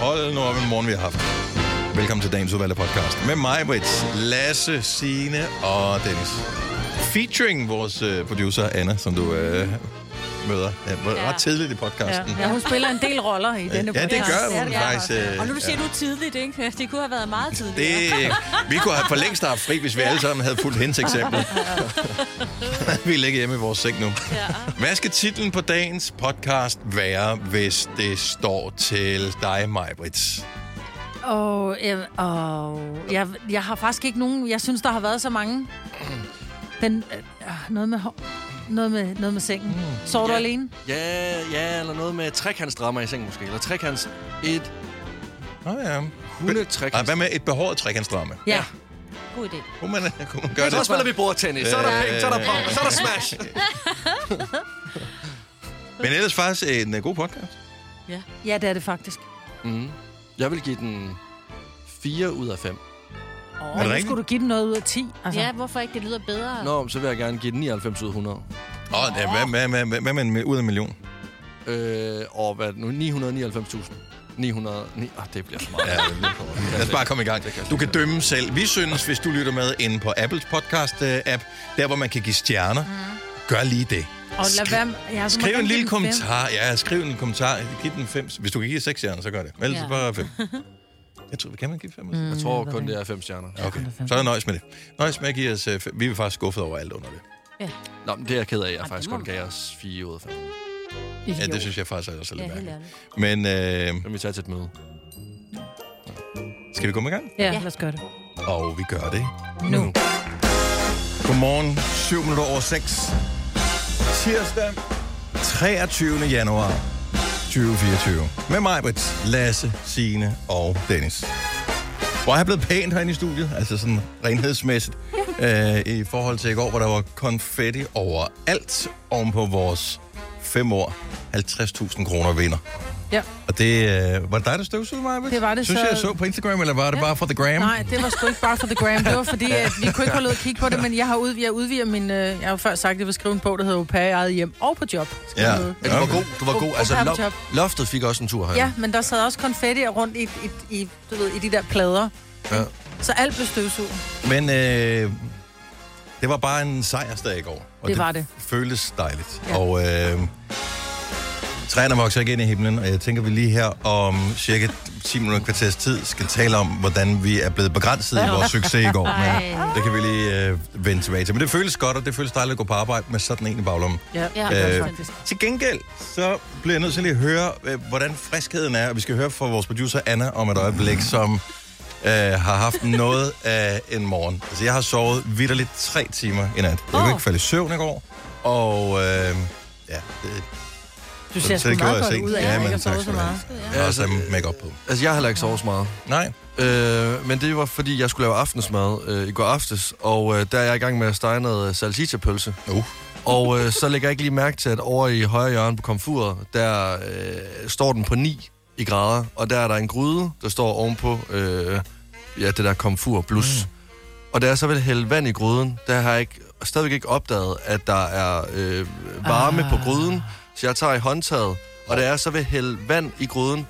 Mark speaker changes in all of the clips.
Speaker 1: Hold nu op en morgen, vi har haft. Velkommen til dagens udvalgte podcast med mig, Brits, Lasse, Signe og Dennis. Featuring vores øh, producer, Anna, som du øh, møder ja,
Speaker 2: Ja.
Speaker 1: ret tidligt i podcasten.
Speaker 2: Ja, hun spiller en del roller i denne
Speaker 1: Ja, det
Speaker 2: podcast.
Speaker 1: gør hun faktisk, øh,
Speaker 2: Og nu du siger
Speaker 1: ja.
Speaker 2: du tidligt, ikke? Det kunne have været meget tidligt.
Speaker 1: Det, vi kunne have for længst haft fri, hvis vi alle sammen havde fulgt hendes eksempel. vi ligger hjemme i vores seng nu. Hvad skal titlen på dagens podcast være, hvis det står til dig, Majbrits?
Speaker 3: Og, jeg, og jeg, jeg har faktisk ikke nogen... Jeg synes, der har været så mange. Den, øh, noget med hår. Noget med, noget med sengen. Mm. Sover du
Speaker 4: Ja.
Speaker 3: alene?
Speaker 4: Ja, ja, eller noget med trekantsdrammer i sengen måske. Eller trekants... Et
Speaker 1: Nå ja.
Speaker 4: hundetrekants...
Speaker 1: Ej, hvad med et behåret trekantsdrama?
Speaker 3: Ja. ja.
Speaker 2: God idé.
Speaker 1: Kunne man, kunne man gøre
Speaker 4: Så
Speaker 1: det? Øh.
Speaker 4: spiller vi bordtennis, så er der penge, så er der pop, så er der smash.
Speaker 1: Men ellers faktisk en øh, god podcast.
Speaker 3: Ja, det er det faktisk.
Speaker 4: Mm. Jeg vil give den 4 ud af 5.
Speaker 3: Oh,
Speaker 1: det
Speaker 3: nu
Speaker 1: rigtigt?
Speaker 3: skulle du give den noget ud af 10. Altså.
Speaker 2: Ja, hvorfor ikke? Det lyder bedre.
Speaker 4: Nå, men så vil jeg gerne give den 99 ud af 100.
Speaker 1: Og ja, hvad, hvad, hvad, hvad, hvad med en mi- ud af en million?
Speaker 4: Øh, og hvad er det nu? 999.000. 900... Ni... Oh, det bliver for meget.
Speaker 1: Ja, Lad os bare komme i gang. Du kan dømme selv. Vi synes, hvis du lytter med inde på Apples podcast-app, der hvor man kan give stjerner, gør lige det.
Speaker 3: Og lad være med, ja, så må
Speaker 1: Skriv
Speaker 3: jeg
Speaker 1: en
Speaker 3: gerne give
Speaker 1: lille
Speaker 3: den fem.
Speaker 1: kommentar. Ja, skriv en kommentar. Giv den fem. Hvis du kan give seks stjerner, så gør det. Men Ellers
Speaker 2: Ja.
Speaker 1: ja. bare fem. Jeg tror, kan man give fem? Mm.
Speaker 4: Jeg tror kun, det er 5 stjerner.
Speaker 1: Okay, så er jeg nøjes med det. Nøjes med at give os... øh, fem. Vi er faktisk skuffet over alt under det.
Speaker 4: Nå, men det er jeg ked af. Jeg
Speaker 2: det
Speaker 4: faktisk
Speaker 2: må
Speaker 4: kun
Speaker 2: man.
Speaker 4: gav os 4 ud af 5.
Speaker 1: Ja, det synes jeg faktisk er også lidt
Speaker 2: Ja, helt
Speaker 1: mærkeligt.
Speaker 2: ærligt.
Speaker 1: Men øh,
Speaker 4: Så vil vi tage til et møde.
Speaker 1: skal vi komme i gang?
Speaker 3: Ja, lad os gøre det.
Speaker 1: Og vi gør det
Speaker 3: Nu.
Speaker 1: Godmorgen, 7 minutter over 6. Tirsdag, 23. januar 2024. Med mig, Britt, Lasse, Signe og Dennis. Hvor er jeg blevet pænt herinde i studiet, altså sådan renhedsmæssigt, øh, i forhold til i går, hvor der var konfetti overalt oven på vores 5 år 50.000 kroner vinder.
Speaker 3: Ja.
Speaker 1: Og det, øh, var det dig, der støvsugede mig, Britt?
Speaker 3: Det var det,
Speaker 1: Synes
Speaker 3: så-
Speaker 1: jeg, jeg så på Instagram, eller var det bare for The Gram?
Speaker 3: Nej, det var sgu ikke bare for The Gram. Det var fordi, at vi kunne ikke holde ud at kigge på det, men jeg har ud, jeg udviger min... Øh, jeg har jo før sagt, at jeg vil skrive en bog, der hedder Au pair i eget hjem og på job. Skal
Speaker 1: Ja.
Speaker 3: jeg møde.
Speaker 4: Men du var god, du var god.
Speaker 3: Okay.
Speaker 4: Altså,
Speaker 3: Okay,
Speaker 4: lo-
Speaker 3: top.
Speaker 4: loftet fik også en tur her.
Speaker 3: Ja, men der sad også konfetti rundt i, i, i, du ved, i de der plader.
Speaker 1: Ja.
Speaker 3: Så alt blev støvsuget.
Speaker 1: Men øh, det var bare en sejrsdag i går. Og
Speaker 3: Det var det.
Speaker 1: føltes dejligt. Ja.
Speaker 3: Ja.
Speaker 1: Og øh, træerne vokser ikke ind i himlen, og jeg tænker, vi lige her om cirka 10 minutter et kvarters tid skal tale om, hvordan vi er blevet begrænset i vores succes i går. Men
Speaker 2: Ej.
Speaker 1: det kan vi lige øh, vende tilbage til. Men det føles godt, og det føles dejligt at gå på arbejde med sådan en i baglommen.
Speaker 3: Ja,
Speaker 2: Ja.
Speaker 3: det
Speaker 1: Øh,
Speaker 3: var faktisk.
Speaker 1: Til gengæld, så bliver jeg nødt til lige at høre, øh, hvordan friskheden er, og vi skal høre fra vores producer Anna om et øjeblik, som øh, har haft noget af en morgen. Altså, jeg har sovet vidderligt tre timer i nat. Jeg kunne
Speaker 2: Åh.
Speaker 1: ikke falde i søvn i går, og øh, ja, det,
Speaker 3: Du
Speaker 1: så
Speaker 3: ser sgu
Speaker 1: det gjorde
Speaker 3: meget
Speaker 1: jeg
Speaker 3: godt
Speaker 1: sent.
Speaker 3: ud af,
Speaker 1: Ja,
Speaker 3: at jeg
Speaker 1: men
Speaker 3: ikke har sovet
Speaker 1: tak skal
Speaker 3: så
Speaker 1: du have.
Speaker 3: meget.
Speaker 1: jeg har også have make-up på.
Speaker 4: Altså, jeg har heller ikke sovet så meget.
Speaker 1: Nej,
Speaker 4: Øh, men det var, fordi jeg skulle lave aftensmad øh, i går aftes, og øh, der er jeg i gang med at stege noget øh, salchicha-pølse.
Speaker 1: uh,
Speaker 4: Og øh, så lægger jeg ikke lige mærke til, at over i højre hjørne på komfuret, der øh, står den på 9 i grader, og der er der en gryde, der står ovenpå øh, ja, det der komfur plus. Mm. Og da jeg så vil hælde vand i gryden, der har jeg ikke, stadigvæk ikke opdaget, at der er øh, varme ah. på gryden, så jeg tager i håndtaget, og da jeg så vil hælde vand i gryden,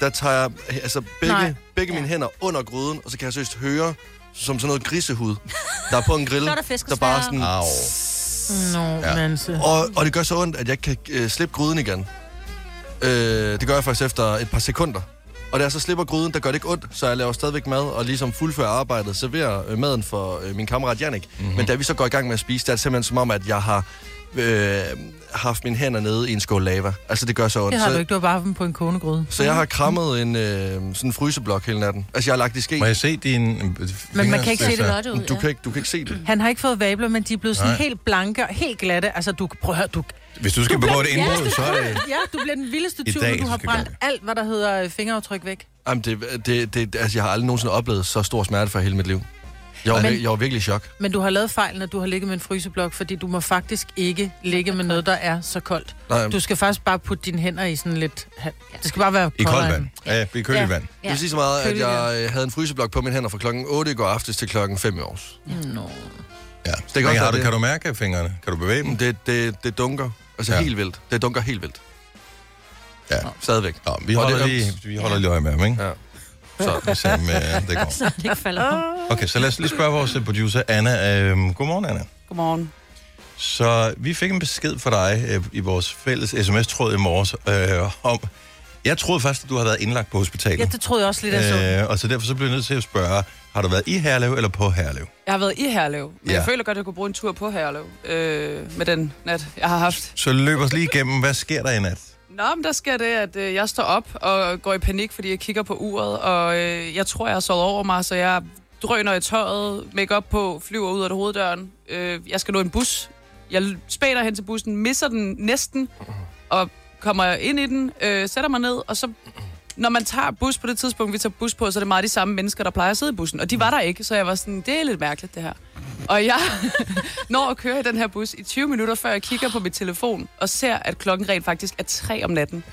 Speaker 4: der tager jeg altså
Speaker 3: Nej.
Speaker 4: begge, begge mine hænder under gryden, og så kan jeg seriøst høre, som sådan noget grisehud, der er på en grill,
Speaker 2: Så er der
Speaker 4: der bare
Speaker 2: fiskesvær.
Speaker 4: sådan...
Speaker 1: au.
Speaker 3: Nå,
Speaker 1: Ja.
Speaker 3: men så...
Speaker 4: Og, og det gør så ondt, at jeg ikke kan øh, slippe gryden igen. Øh, det gør jeg faktisk efter et par sekunder. Og da jeg så slipper gryden, der gør det ikke ondt, så jeg laver stadigvæk mad og ligesom fuldfører arbejdet, serverer øh, maden for øh, min kammerat Jannik.
Speaker 1: Mhm.
Speaker 4: Mm-hmm. Men da vi så går i gang med at spise, der er det simpelthen som om, at jeg har øh, haft mine hænder nede i en skål lava. Altså, det gør så ondt.
Speaker 3: Det har du
Speaker 4: så,
Speaker 3: ikke, Mhm. du har bare haft dem på en kogegryde.
Speaker 4: så jeg har krammet en øh, sådan en fryseblok hele natten. Altså, jeg har lagt i ske.
Speaker 1: Må jeg se din... altså-
Speaker 3: Men man kan ikke se det
Speaker 2: godt ud,
Speaker 4: Du kan, ikke, du kan ikke se det.
Speaker 3: Han har ikke fået vabler, men de er blevet sådan
Speaker 1: Nej.
Speaker 3: helt blanke og helt glatte. Altså, du, prøv at høre, du...
Speaker 1: Hvis du skal begå et indbrud, så er det...
Speaker 3: Ja, du bliver den vildeste
Speaker 1: I
Speaker 3: tyv,
Speaker 1: dag,
Speaker 3: når du har
Speaker 1: så skal vi
Speaker 3: brændt
Speaker 1: gøre
Speaker 3: alt, hvad der hedder øh, fingeraftryk væk.
Speaker 4: Jamen, det, det, det, altså, jeg har aldrig nogensinde oplevet så stor smerte for hele mit liv. Jeg var,
Speaker 3: Men-
Speaker 4: jeg var virkelig i chok.
Speaker 3: Men du har lavet fejlen, at du har ligget med en fryseblok, fordi du må faktisk ikke ligge med noget, der er så koldt.
Speaker 4: Nej.
Speaker 3: Du skal faktisk bare putte dine hænder i sådan lidt... Det skal bare være
Speaker 1: I koldt
Speaker 3: koldere
Speaker 1: vand.
Speaker 3: end-
Speaker 1: Ja, i køligt vand.
Speaker 4: Ja. Jeg vil sige så meget, at
Speaker 3: Kølig,
Speaker 4: jeg øh, havde en fryseblok på min hænder fra klokken 8 i går aftes til klokken 5 i års.
Speaker 3: Nå.
Speaker 1: Ja.
Speaker 4: kan
Speaker 1: Men
Speaker 4: også
Speaker 1: har
Speaker 4: være
Speaker 1: du,
Speaker 4: det.
Speaker 1: kan du mærke fingrene? Kan du bevæge dem?
Speaker 4: Det, det, det dunker. Altså
Speaker 1: Ja.
Speaker 4: ja. helt vildt. Det dunker helt vildt.
Speaker 1: Ja.
Speaker 4: Stadigvæk.
Speaker 1: Nå, vi
Speaker 4: Og det
Speaker 1: holder,
Speaker 4: er
Speaker 1: lige,
Speaker 4: ømt.
Speaker 1: vi holder lige øje med ham, ikke?
Speaker 4: Ja.
Speaker 1: Så som, øh, det går.
Speaker 2: så Altså, det ikke falder om.
Speaker 1: Okay, så lad os lige spørge vores øh, producer, Anna. Øhm, godmorgen, Anna.
Speaker 5: Godmorgen.
Speaker 1: Så vi fik en besked fra dig øh, i vores fælles sms-tråd i morges øh, om... Jeg troede først, at du havde været indlagt på hospitalet.
Speaker 3: Ja, det troede jeg også lidt, jeg så.
Speaker 1: øh, og så derfor så blev jeg nødt til at spørge, har du været i Herlev eller på Herlev?
Speaker 5: Jeg har været i Herlev, men
Speaker 1: Ja.
Speaker 5: ja. jeg føler godt, at jeg kunne bruge en tur på Herlev øh, med den nat, jeg har haft.
Speaker 1: Så løb os lige igennem, hvad sker der i nat?
Speaker 5: Nå, men der sker det, at øh, jeg står op og går i panik, fordi jeg kigger på uret, og øh, jeg tror, jeg har sovet over mig, så jeg drøner i tøjet, make op på, flyver ud af det hoveddøren. Øh, jeg skal nå en bus. Jeg l- spæner hen til bussen, misser den næsten, og kommer ind i den, øh, sætter mig ned, og så... Når man tager bus på det tidspunkt, vi tager bus på, så er det meget de samme mennesker, der plejer at sidde i bussen. Og de var der ikke, så jeg var sådan, det er lidt mærkeligt, det her. Og jeg når at køre i den her bus i 20 minutter, før jeg kigger på mit telefon og ser, at klokken rent faktisk er 3 om natten.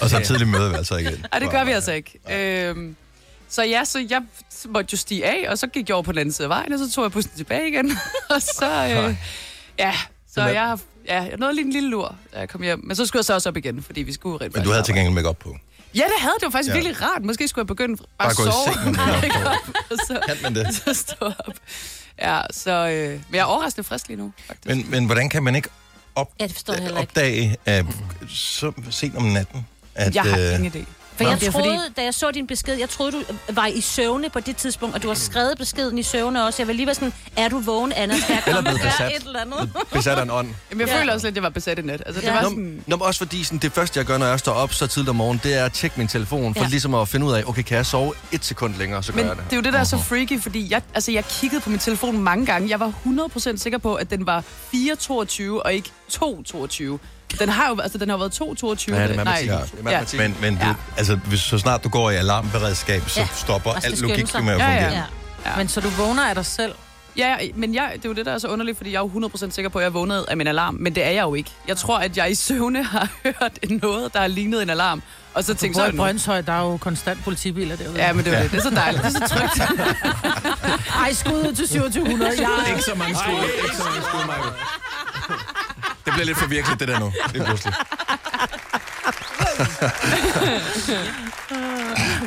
Speaker 1: Og så tidligt møder vi altså igen.
Speaker 5: Og det gør vi altså ikke. Øhm, så ja, så jeg måtte jo stige af, og så gik jeg over på den anden side af vejen, og så tog jeg bussen tilbage igen. og så, øh, ja, så
Speaker 1: Men-
Speaker 5: jeg har... Ja, jeg nåede lige en lille lur, da jeg kom hjem. Men så skulle jeg så også op igen, fordi vi skulle jo rent
Speaker 1: Men du
Speaker 5: faktisk
Speaker 1: havde til
Speaker 5: arbejde.
Speaker 1: gengæld make op på.
Speaker 5: Ja, det havde det var faktisk
Speaker 1: Ja.
Speaker 5: ja. virkelig rart. Måske skulle jeg begynde bare,
Speaker 1: Bare
Speaker 5: bare
Speaker 1: gå i
Speaker 5: sove.
Speaker 1: seng med make-up på.
Speaker 5: og så,
Speaker 1: Kan man det?
Speaker 5: så stå op. Ja, så... Øh, men jeg er overraskende frisk lige nu, faktisk.
Speaker 1: Men, men hvordan kan man ikke op,
Speaker 2: Ja, det forstår jeg heller ikke.
Speaker 1: opdage øh, så sent om natten, at...
Speaker 5: jeg har
Speaker 1: øh,
Speaker 5: ingen idé.
Speaker 2: For
Speaker 3: Nå,
Speaker 2: jeg
Speaker 3: det er fordi-
Speaker 2: troede, da jeg så din besked, jeg troede, du øh, var i søvne på det tidspunkt, og du har skrevet beskeden i søvne også. Jeg var lige være sådan, er du vågen, Anna? Skal jeg
Speaker 4: Eller
Speaker 2: komme og
Speaker 4: blevet
Speaker 2: gøre
Speaker 4: besat.
Speaker 2: et eller andet?
Speaker 4: Besat af en ånd.
Speaker 5: Jamen, jeg ja. føler også lidt, at jeg var besat i nat. Altså, det
Speaker 2: Ja.
Speaker 5: var
Speaker 4: Nå,
Speaker 5: sådan...
Speaker 4: nå, men også fordi sådan, det første, jeg gør, når jeg står op så tidligt om morgenen, det er at tjekke min telefon, for
Speaker 2: Ja.
Speaker 4: ja. ligesom at finde ud af, okay, kan jeg sove et sekund længere, så gør
Speaker 5: Men
Speaker 4: jeg det.
Speaker 5: det er jo det, der er så freaky, fordi jeg, altså, jeg kiggede på min telefon mange gange. Jeg var 100% sikker på, at den var 4.22 og ikke 2.22. Den har jo altså, den har jo været 2.22.
Speaker 4: Ja, det er
Speaker 5: Nej,
Speaker 4: matematik. Ja. Det er matematik.
Speaker 1: Men, men det,
Speaker 5: Ja.
Speaker 1: altså, hvis, så snart du går i alarmberedskab, så
Speaker 2: Ja,
Speaker 1: stopper
Speaker 5: Altså,
Speaker 2: og skal
Speaker 1: alt
Speaker 2: skynde
Speaker 1: logik
Speaker 2: sig.
Speaker 1: med at
Speaker 5: Ja, ja.
Speaker 1: fungere.
Speaker 2: Ja.
Speaker 5: Ja.
Speaker 3: Men så du vågner af dig selv.
Speaker 5: Ja, ja, men jeg, det er jo det, der er så underligt, fordi jeg er jo 100% sikker på, at jeg vågnede af min alarm, men det er jeg jo ikke. Jeg tror, at jeg i søvne har hørt noget, der har lignet en alarm, og så
Speaker 3: Du
Speaker 5: tænkte
Speaker 3: bor
Speaker 5: jeg
Speaker 3: i
Speaker 5: sådan...
Speaker 3: Brøndshøj, der er jo konstant politibiler derude.
Speaker 5: Ja,
Speaker 3: Ja.
Speaker 5: men det er jo det. Det er så dejligt. Det er så trygt.
Speaker 3: Ej, skud ud til 2700. Jeg,
Speaker 4: så mange skud. Ikke så mange skud, Michael.
Speaker 1: Det bliver lidt for virkeligt, det der nu. Det er pludselig.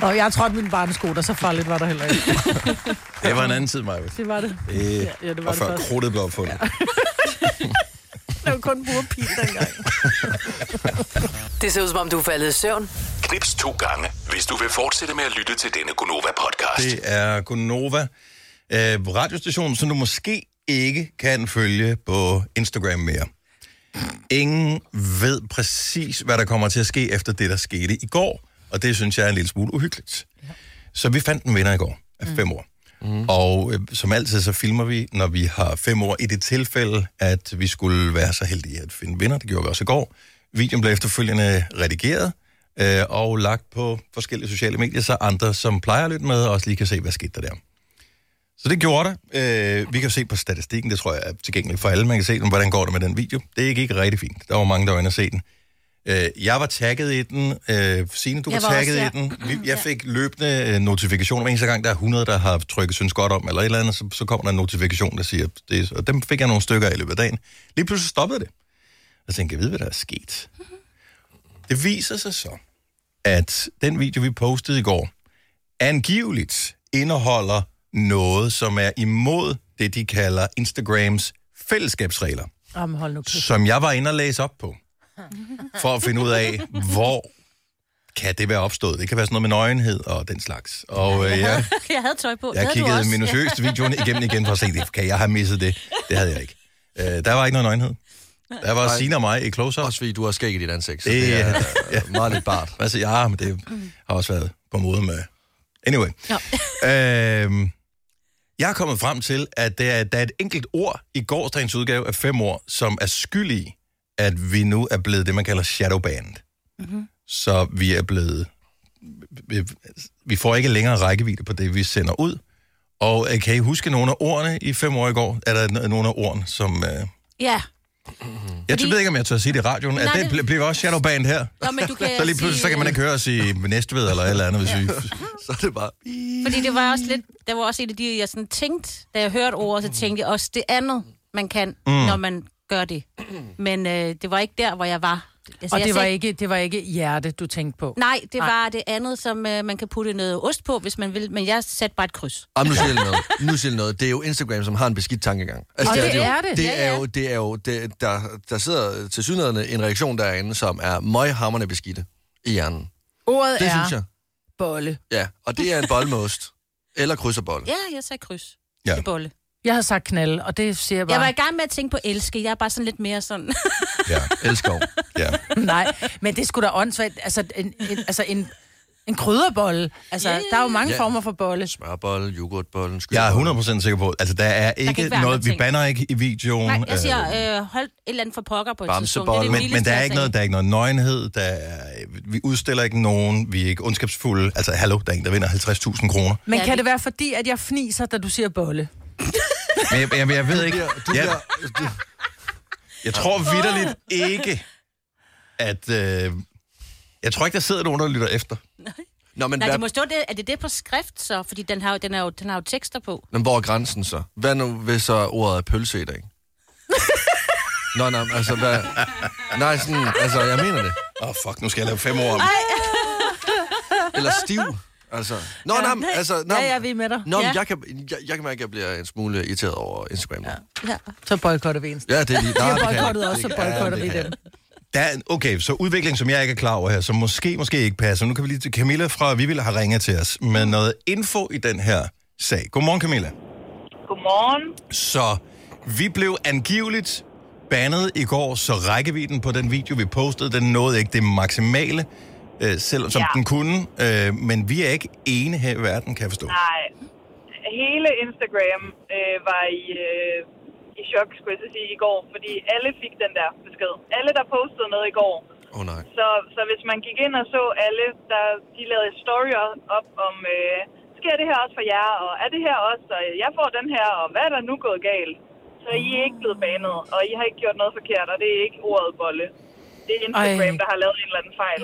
Speaker 3: og jeg trådte mine barnesko, der så farligt var der heller ikke.
Speaker 1: Det var en anden tid, Maja.
Speaker 3: Det var det.
Speaker 1: Øh, ja,
Speaker 3: ja, det var
Speaker 1: og
Speaker 3: det
Speaker 1: før
Speaker 3: faktisk.
Speaker 1: krudtet blev opfundet.
Speaker 3: Det var kun burpil dengang.
Speaker 6: Det ser ud som om, du er faldet i søvn.
Speaker 7: Knips to gange, hvis du vil fortsætte med at lytte til denne Gonova-podcast.
Speaker 1: Det er Gunova, øh, radiostationen, som du måske ikke kan følge på Instagram mere. Ingen ved præcis, hvad der kommer til at ske efter det, der skete i går, og det synes jeg er en lille smule uhyggeligt. Så vi fandt en vinder i går af fem år. Mm. Og øh, som altid, så filmer vi, når vi har fem år, i det tilfælde, at vi skulle være så heldige at finde vinder. Det gjorde vi også i går. Videoen blev efterfølgende redigeret øh, og lagt på forskellige sociale medier, så andre, som plejer at lytte med, også lige kan se, hvad skete der der. Så det gjorde det. Øh, vi kan jo se på statistikken, det tror jeg er tilgængeligt for alle. Man kan se, hvordan går det med den video. Det gik ikke rigtig fint. Der var mange, der var inde og se den. Øh, jeg var tagget i den. Øh, Signe, du
Speaker 2: Jeg
Speaker 1: var
Speaker 2: var
Speaker 1: tagget
Speaker 2: også,
Speaker 1: i
Speaker 2: ja.
Speaker 1: den. Vi- Jeg fik løbende øh, notifikationer. Hver eneste gang, der er 100, der har trykket synes godt om, eller et eller andet, så, så kommer der en notifikation, der siger det. Og dem fik jeg nogle stykker af i løbet af dagen. Lige pludselig stoppede det. Og så tænkte jeg, ved hvad der er sket?
Speaker 2: Mhm.
Speaker 1: Det viser sig så, at den video, vi postede i går, angiveligt indeholder noget, som er imod det, de kalder Instagrams fællesskabsregler,
Speaker 3: Jamen, hold nu kæft.
Speaker 1: som jeg var inde og læse op på, for at finde ud af, hvor kan det være opstået. Det kan være sådan noget med nøgenhed og den slags. Og øh, jeg,
Speaker 2: Jeg havde tøj på. Det
Speaker 1: jeg
Speaker 2: havde du
Speaker 1: kiggede
Speaker 2: også.
Speaker 1: minutiøst videoen igennem igen for at se, det. kan jeg have misset det? Det havde jeg ikke. Øh, der var ikke noget nøgenhed. Der var Signe og mig i close-up.
Speaker 4: Også fordi du har skæg i dit ansigt, så
Speaker 1: Det
Speaker 4: det, er
Speaker 1: er-
Speaker 4: ja. meget lidt bart.
Speaker 1: Altså, ja, men det har også været på mode med... Anyway. øhm, jeg er kommet frem til, at der, der er et enkelt ord i gårsdagens udgave af fem ord, som er skyld i, at vi nu er blevet det, man kalder shadowbanned. Mm-hmm. Så vi er blevet... Vi, vi får ikke længere rækkevidde på det, vi sender ud. Og øh, kan I huske nogle af ordene i fem år i går? Er der no- nogle af ordene, som... Øh,
Speaker 2: Ja.
Speaker 1: jeg
Speaker 2: Fordi-
Speaker 1: ved ikke, om jeg tør sige det i radioen. Nej,
Speaker 2: Nej,
Speaker 1: er det,
Speaker 2: det-
Speaker 1: det... bliver også shadowbanned her?
Speaker 2: Nå, men du kan
Speaker 1: Så lige pludselig, så kan man ikke høre os i Næstved eller et eller andet, hvis vi...
Speaker 4: Så er det bare...
Speaker 2: Fordi det var også lidt, det var også et af de, jeg sådan tænkte, da jeg hørte ordet, så tænkte jeg også det andet, man kan, mm. når man gør det. Men øh, det var ikke der, hvor jeg var. Altså,
Speaker 3: Og
Speaker 2: jeg
Speaker 3: det var,
Speaker 2: ser-
Speaker 3: ikke, det var ikke hjerte, du tænkte på.
Speaker 2: Nej, det var det andet, som øh, man kan putte noget ost på, hvis man vil. Men jeg satte bare et kryds.
Speaker 4: Jamen, nu siger jeg noget. Nu siger jeg noget. Det er jo Instagram, som har en beskidt tankegang.
Speaker 3: Og det
Speaker 4: jo,
Speaker 3: er det.
Speaker 4: Det
Speaker 2: Ja,
Speaker 4: er
Speaker 2: ja.
Speaker 4: jo, det er jo det, der, der sidder til synligheden en reaktion derinde, som er møghammerne beskidte i hjernen.
Speaker 3: Ordet
Speaker 4: Det
Speaker 3: er
Speaker 4: synes jeg.
Speaker 3: bolle.
Speaker 4: Ja, og det er en bollemost. Eller krydserbolle.
Speaker 2: Ja, jeg sagde kryds.
Speaker 1: Ja.
Speaker 2: Ja. Til bolle.
Speaker 3: Jeg havde sagt knalde, og det siger jeg bare.
Speaker 2: Jeg var i gang med at tænke på elske. Jeg er bare sådan lidt mere sådan...
Speaker 1: Ja,
Speaker 4: Elskov.
Speaker 1: ja.
Speaker 3: Nej, men det skulle da åndssvagt. Altså, en, en, altså en, en krydderbolle. Altså, yeah. der er jo mange
Speaker 4: Ja.
Speaker 3: yeah. former for bolle.
Speaker 4: Smørbolle, yoghurtbolle,
Speaker 1: Jeg
Speaker 4: skydebollen.
Speaker 1: er 100% sikker på, altså der er ikke,
Speaker 2: ikke
Speaker 1: der
Speaker 2: være
Speaker 1: noget,
Speaker 2: andre
Speaker 1: vi
Speaker 2: ting.
Speaker 1: banner ikke i videoen.
Speaker 2: Nej, jeg siger,
Speaker 1: øh,
Speaker 2: øh, hold et eller andet for pokker på et tidspunkt.
Speaker 4: Bamsebolle.
Speaker 1: men,
Speaker 2: det
Speaker 1: men
Speaker 2: vildeste,
Speaker 1: der er
Speaker 2: jeg
Speaker 1: ikke
Speaker 2: sagde.
Speaker 1: noget, der er ikke noget nøgenhed, der er, vi udstiller ikke nogen, vi er ikke ondskabsfulde. Altså, hallo, der er en, der vinder 50.000 kroner.
Speaker 3: Men
Speaker 2: Ja,
Speaker 3: kan
Speaker 2: vi-
Speaker 3: det være fordi, at jeg fniser, da du siger bolle?
Speaker 1: Men jeg, jeg, jeg ved ikke,
Speaker 4: Ja, du
Speaker 1: jeg,
Speaker 4: bliver, du,
Speaker 1: jeg tror vidderligt ikke, at... Øh, jeg tror ikke, der sidder nogen, der lytter efter.
Speaker 4: Nå, men,
Speaker 2: Nej,
Speaker 4: hvad,
Speaker 2: det må stå det. Er det det på skrift så? Fordi den har, jo- den har, jo, den har jo tekster på.
Speaker 4: men hvor er grænsen så? Hvad nu, hvis så ordet er pølse i dag? Nå, nej, altså, hvad... Nej, sådan, altså, jeg mener det.
Speaker 1: Åh, oh, fuck, nu skal jeg lave fem år om.
Speaker 4: Eller stiv. Altså, nå, ja, nej, altså, nej,
Speaker 3: Ja, ja, vi er med dig.
Speaker 4: Nå, men
Speaker 2: Ja.
Speaker 4: jeg, kan, jeg, jeg kan mærke, at jeg bliver en smule irriteret over Instagram. Ja,
Speaker 2: Ja.
Speaker 3: Så boykotter vi en.
Speaker 4: ja det er lige... Nej,
Speaker 3: Jeg
Speaker 4: det kan jeg
Speaker 3: boykottede
Speaker 4: ikke.
Speaker 3: også, så
Speaker 4: Det-
Speaker 3: boykotter vi
Speaker 1: kan
Speaker 3: dem.
Speaker 1: Der er, okay, så udvikling, som jeg ikke er klar over her, som måske, måske ikke passer. Nu kan vi lige til Camilla fra Vivild har ringet til os med noget info i den her sag. Godmorgen, Camilla.
Speaker 8: Godmorgen.
Speaker 1: Så vi blev angiveligt bandet i går, så rækkevidden på den video, vi postede, den nåede ikke det maksimale, øh, selv, som ja.
Speaker 8: Ja.
Speaker 1: den kunne. Øh, men vi er ikke ene her i verden, kan jeg forstå.
Speaker 8: Nej, hele Instagram øh, var i, øh, i chok, skulle jeg så sige, i går, fordi alle fik den der besked. Alle, der postede noget i går.
Speaker 4: Åh, oh, nej.
Speaker 8: Så, så hvis man gik ind og så alle, der de lavede storyer op om, øh, sker det her også for jer, og er det her også, og jeg får den her, og hvad er der nu gået galt? Så I er ikke blevet banet, og I har ikke gjort noget forkert, og det er ikke ordet bolle. Det er Instagram,
Speaker 3: Ej.
Speaker 8: Ej. der har lavet en eller anden fejl.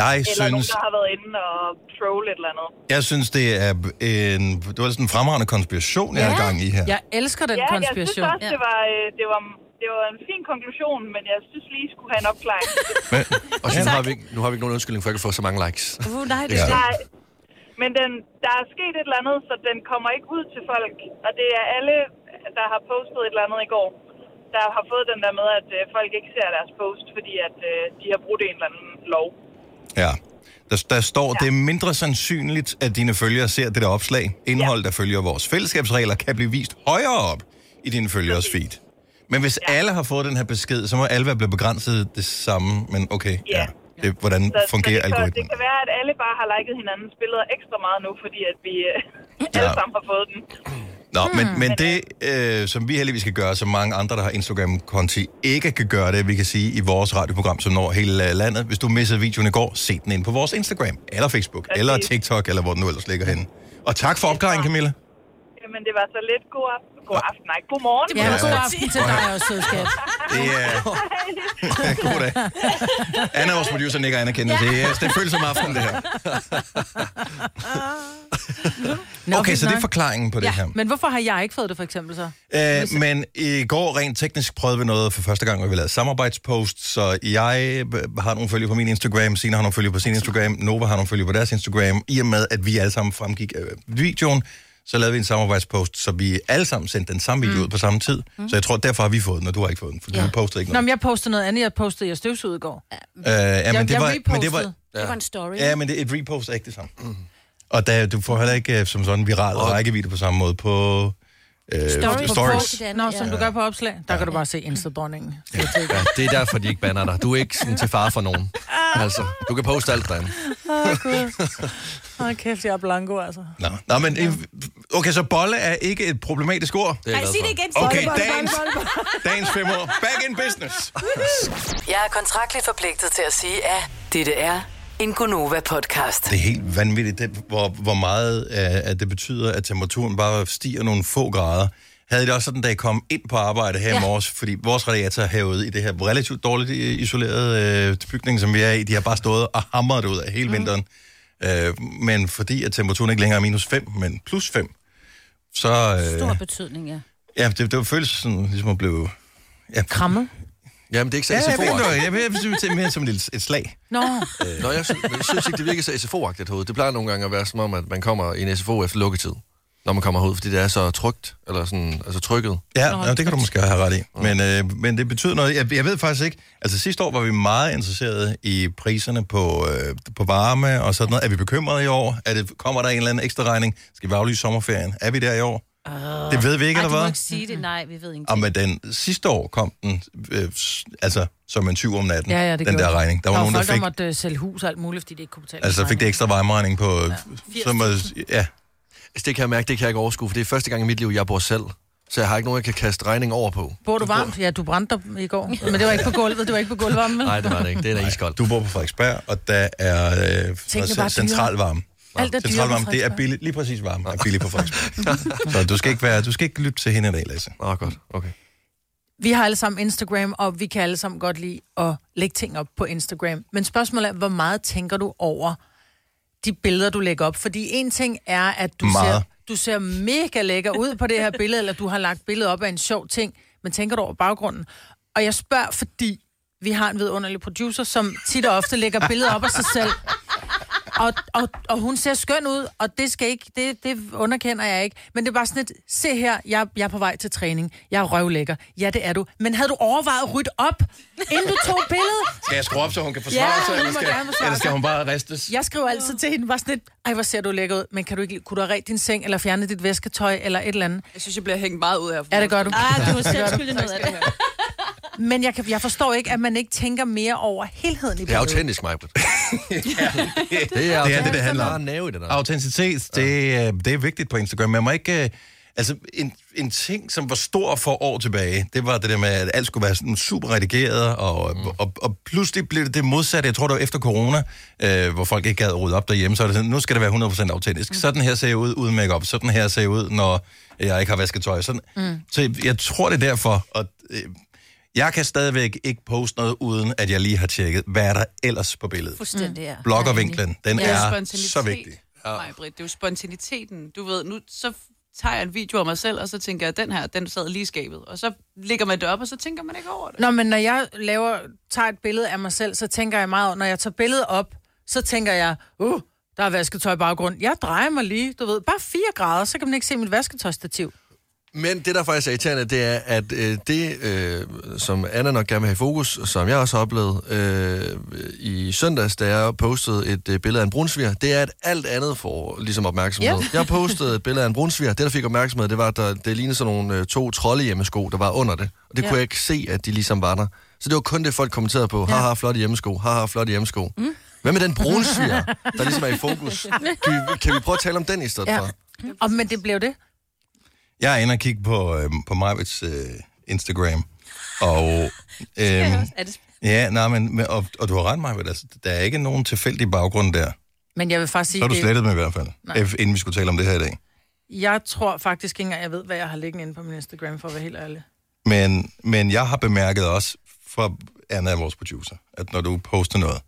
Speaker 1: Jeg
Speaker 8: Eller nogen,
Speaker 1: synes,
Speaker 8: der har været inde og troll et eller andet.
Speaker 1: jeg synes, det er en, det var sådan en fremragende konspiration, jeg har gang i her.
Speaker 3: Jeg elsker den
Speaker 8: Ja, jeg synes
Speaker 3: konspiration.
Speaker 8: også, det var, øh, det, var, det var en fin konklusion, men jeg synes lige, I skulle have en opklaring.
Speaker 1: Men,
Speaker 4: Og så nu har, vi, ikke- nu har vi ikke nogen undskyldning for ikke at få så mange likes.
Speaker 2: Uh, nej, det
Speaker 1: Ja.
Speaker 2: er ja.
Speaker 8: Nej, men den, der er sket et eller andet, så den kommer ikke ud til folk. Og det er alle, der har postet et eller andet i går, der har fået den der med, at øh, folk ikke ser deres post, fordi at øh, de har brudt en eller anden lov.
Speaker 1: Ja. Der, der står, ja. det er mindre sandsynligt, at dine følgere ser det der opslag. Indhold, ja. der følger vores fællesskabsregler, kan blive vist højere op i dine følgeres feed. Men hvis ja. alle har fået den her besked, så må alle være blevet begrænset det samme. Men okay, ja.
Speaker 8: Ja.
Speaker 1: ja. Det, hvordan
Speaker 8: Så, så det,
Speaker 1: fungerer
Speaker 8: kan, det
Speaker 1: algoritmen?
Speaker 8: kan være, at alle bare har liket hinandens billeder ekstra meget nu, fordi at vi øh, alle
Speaker 1: Ja.
Speaker 8: sammen har fået den.
Speaker 1: Nå, men, Hmm. men det, øh, som vi heldigvis kan gøre, som mange andre, der har Instagram-konti, ikke kan gøre det, vi kan sige i vores radioprogram, som når hele øh, landet. Hvis du missede videoen i går, se den ind på vores Instagram, eller Facebook,
Speaker 8: Præcis.
Speaker 1: eller TikTok, eller hvor den nu ellers ligger henne. Og tak for opklaringen, Camilla.
Speaker 8: Jamen, det var så lidt god aften. God aften, nej. God morgen.
Speaker 3: Ja,
Speaker 1: Ja.
Speaker 3: god aften til dig også, sødskat.
Speaker 1: Det er... Goddag. Anna, vores producer, nikker anerkendelse. Det, er- det føles som aften, det her.
Speaker 3: Nå,
Speaker 1: Okay,
Speaker 3: fint
Speaker 1: så det er
Speaker 3: nok.
Speaker 1: forklaringen på det her.
Speaker 3: Men hvorfor har jeg ikke fået det, for eksempel, så?
Speaker 1: Øh, men i går rent teknisk prøvede vi noget for første gang, hvor vi lavede samarbejdspost, så jeg øh, har nogle følger på min Instagram, Sina har nogle følger på sin Instagram, Nova har nogle følger på deres Instagram. I og med, at vi alle sammen fremgik øh, videoen, så lavede vi en samarbejdspost, så vi alle sammen sendte den samme
Speaker 3: Mm.
Speaker 1: video ud på samme tid. Så jeg tror, derfor har vi fået den, og du har ikke fået den, for ja. du postede ikke
Speaker 3: Nå,
Speaker 1: noget.
Speaker 3: men jeg postede noget andet. Jeg postede, jeg støvsugede i går. Ja,
Speaker 1: Øh, ja, men
Speaker 3: jeg,
Speaker 1: det
Speaker 3: jeg
Speaker 1: var, men
Speaker 3: repostede.
Speaker 1: det var,
Speaker 2: Det var en story.
Speaker 1: Ja, men det, et repost er ikke det samme. Mm. Og der, du får heller ikke øh, som sådan viral og rækkevidde på samme måde på øh, stories.
Speaker 2: Stories.
Speaker 1: stories.
Speaker 2: På-
Speaker 3: Nå, som du gør på opslag. Der kan du bare se Insta-dronningen.
Speaker 4: Ja, det er derfor, de ikke banner dig. Du er ikke sådan til far for nogen.
Speaker 3: Ah.
Speaker 4: Altså, du kan poste alt derinde.
Speaker 3: Åh, kæft, jeg er blanco, altså.
Speaker 1: Nå. Nå, men øh, okay, så bolle er ikke et problematisk ord.
Speaker 4: Det er jeg glad for.
Speaker 2: igen.
Speaker 1: Okay, dagens, dagens fem år. Back in business.
Speaker 6: Jeg er kontraktligt forpligtet til at sige, at dette er en Gonova-podcast.
Speaker 1: Det er helt vanvittigt, det, hvor, hvor meget øh, at det betyder, at temperaturen bare stiger nogle få grader. Havde I det også sådan, da I kom ind på arbejde her ja. i morges, fordi vores radiator herude i det her relativt dårligt øh, isolerede øh, bygning, som vi er i, de har bare stået og hamret det ud af hele mm. vinteren. Øh, men fordi at temperaturen ikke længere er minus 5, men plus 5, så øh,
Speaker 2: Stor betydning, ja.
Speaker 1: ja, det, det føles sådan, ligesom at blive... Ja,
Speaker 3: Krammet.
Speaker 4: Jamen, det er ikke så
Speaker 1: Ja, jeg ved
Speaker 4: SFO-agtigt.
Speaker 1: noget. Jeg ved, jeg synes, det er mere som et, lille- et slag.
Speaker 3: Nå,
Speaker 4: Øh. Nå, jeg synes, jeg synes ikke, det virker så SFO-agtigt herude. Det plejer nogle gange at være som om, at man kommer i en SFO efter lukketid, når man kommer herud, fordi det er så trygt, eller sådan, altså trykket.
Speaker 1: Ja, nå, det kan du måske have ret i. Men, øh, men det betyder noget. Jeg, jeg ved faktisk ikke... Altså sidste år var vi meget interesserede i priserne på, øh, på varme og sådan noget. Er vi bekymrede i år? Er det, kommer der en eller anden ekstra regning? Skal vi aflyse sommerferien? Er vi der i år? Uh, det ved vi ikke,
Speaker 2: Ah.
Speaker 1: eller
Speaker 2: Ej, du må
Speaker 1: hvad?
Speaker 2: ikke sige det. Nej, vi ved ikke.
Speaker 1: Og men den sidste år kom den, øh, s- altså som en 20 om natten,
Speaker 3: ja, ja, det
Speaker 1: den
Speaker 3: gjorde
Speaker 1: der
Speaker 3: det.
Speaker 1: regning. Der var,
Speaker 3: der var
Speaker 1: nogen, der
Speaker 3: folk,
Speaker 1: fik,
Speaker 3: der måtte øh, sælge hus og alt muligt, fordi de ikke kunne betale.
Speaker 1: altså, fik det ekstra varmeregning på...
Speaker 4: Øh,
Speaker 1: Ja. Som, er- ja,
Speaker 4: Altså, det kan jeg mærke, det kan jeg ikke overskue, for det er første gang i mit liv, jeg bor selv. Så jeg har ikke nogen, jeg kan kaste regning over på.
Speaker 3: Bor du varmt? Ja, du brændte dig i går. Men det var ikke på gulvet, det var ikke på gulvvarmen. vel?
Speaker 4: Nej, det var det ikke. Det er da iskoldt.
Speaker 1: du bor på Frederiksberg, og der er øh,
Speaker 3: er bare
Speaker 1: centralvarme.
Speaker 3: Alt er dyrere på
Speaker 1: Centralvarme, det er
Speaker 3: Frederiksberg.
Speaker 1: billigt, lige præcis varme, er billigt på Frederiksberg. Så du skal ikke, være, du skal ikke lytte til hende i dag, Lasse.
Speaker 4: Nå, godt. Okay.
Speaker 3: Vi har alle sammen Instagram, og vi kan alle sammen godt lide at lægge ting op på Instagram. Men spørgsmålet er, hvor meget tænker du over de billeder, du lægger op? Fordi en ting er, at du
Speaker 1: Meget.
Speaker 3: ser, du ser mega lækker ud på det her billede, eller du har lagt billedet op af en sjov ting, men tænker du over baggrunden? Og jeg spørger, fordi vi har en vidunderlig producer, som tit og ofte lægger billeder op af sig selv. Og, og, og hun ser skøn ud, og det skal ikke, det, det underkender jeg ikke. Men det er bare sådan et, se her, jeg, jeg er på vej til træning. Jeg er røvlækker. Ja, det er du. Men havde du overvejet at rydde op, inden du tog billedet?
Speaker 1: Skal jeg skrue op, så hun kan
Speaker 3: forsvare Ja, sig, hun eller må skal- gerne forsvare eller skal sig.
Speaker 1: hun bare ristes?
Speaker 3: Jeg skrev altid til hende, bare sådan et, ej, hvor ser du lækker ud, men kan du ikke, kunne du have ret din seng, eller fjerne dit væsketøj, eller et eller andet?
Speaker 5: Jeg synes, jeg bliver hængt meget ud her.
Speaker 3: Ja, det gør du.
Speaker 2: Ah, du er selv skyldig noget af det.
Speaker 3: Men jeg, kan, jeg forstår ikke, at man ikke tænker mere over helheden i
Speaker 4: Det er
Speaker 3: billedet.
Speaker 4: autentisk, mig. det er det, er,
Speaker 1: det, det handler om.
Speaker 4: Der er en nerve i det der.
Speaker 1: Autenticitet, det, øh, det er vigtigt på Instagram. Man må ikke... øh, Altså, en, en ting, som var stor for år tilbage, det var det der med, at alt skulle være sådan super redigeret, og, mm. og, og pludselig blev det det modsatte. Jeg tror, det var efter corona, øh, hvor folk ikke gad at rydde op derhjemme, så er det sådan, nu skal det være 100% autentisk. Mm. Sådan her ser jeg ud uden makeup. Sådan her ser jeg ud, når jeg ikke har vasket tøj. Sådan. Mm. Så jeg tror, det er derfor. Og, øh, jeg kan stadigvæk ikke poste noget, uden at jeg lige har tjekket, hvad er der ellers på billedet.
Speaker 2: Fuldstændig, ja.
Speaker 1: Bloggervinklen, den
Speaker 5: Det er jo
Speaker 1: er
Speaker 5: spontanitet.
Speaker 1: så vigtig.
Speaker 5: Nej, Britt, det er jo spontaniteten. Du ved, nu så tager jeg en video af mig selv, og så tænker jeg, at den her, den sad lige i skabet. Og så lægger man det op, og så tænker man ikke over det.
Speaker 3: Nå, men når jeg laver, tager et billede af mig selv, så tænker jeg meget, over- når jeg tager billedet op, så tænker jeg, uh, der er vasketøj i baggrund. Jeg drejer mig lige, du ved, bare 4 grader, så kan man ikke se mit vasketøjstativ.
Speaker 4: Men det, der faktisk er irriterende, det er, at øh, det, øh, som Anna nok gerne vil have i fokus, og som jeg også har oplevet øh, i søndags, da jeg postede et øh, billede af en brunsviger, det er, at alt andet får ligesom opmærksomhed. Yep. Jeg postede et billede af en brunsviger. Det, der fik opmærksomhed, det var, at der, det lignede sådan nogle øh, to troldehjemmesko, der var under det. Og det kunne jeg ikke se, at de ligesom var der. Så det var kun det, folk kommenterede på. Haha, flotte hjemmesko. Haha, flotte hjemmesko. Mm. Hvad med den brunsviger, der ligesom er i fokus? Kan vi, kan vi prøve at tale om den i stedet ja.
Speaker 3: Ja.
Speaker 4: for?
Speaker 3: Og, men det blev det.
Speaker 1: Jeg er inde og kigge på, øh, på Majvits øh, Instagram, og... Øh,
Speaker 2: Er det
Speaker 1: ja, nej, men, men- og, og du har ret, Majvit, altså, der er ikke nogen tilfældig baggrund der.
Speaker 3: Men jeg vil faktisk sige,
Speaker 1: Så er du
Speaker 3: det-
Speaker 1: slettet med i hvert fald, nej. inden vi skulle tale om det her i dag.
Speaker 3: jeg tror faktisk ikke engang, jeg ved, hvad jeg har liggende inde på min Instagram, for at være helt ærlig.
Speaker 1: Men, men jeg har bemærket også fra Anna, vores producer, at når du poster noget,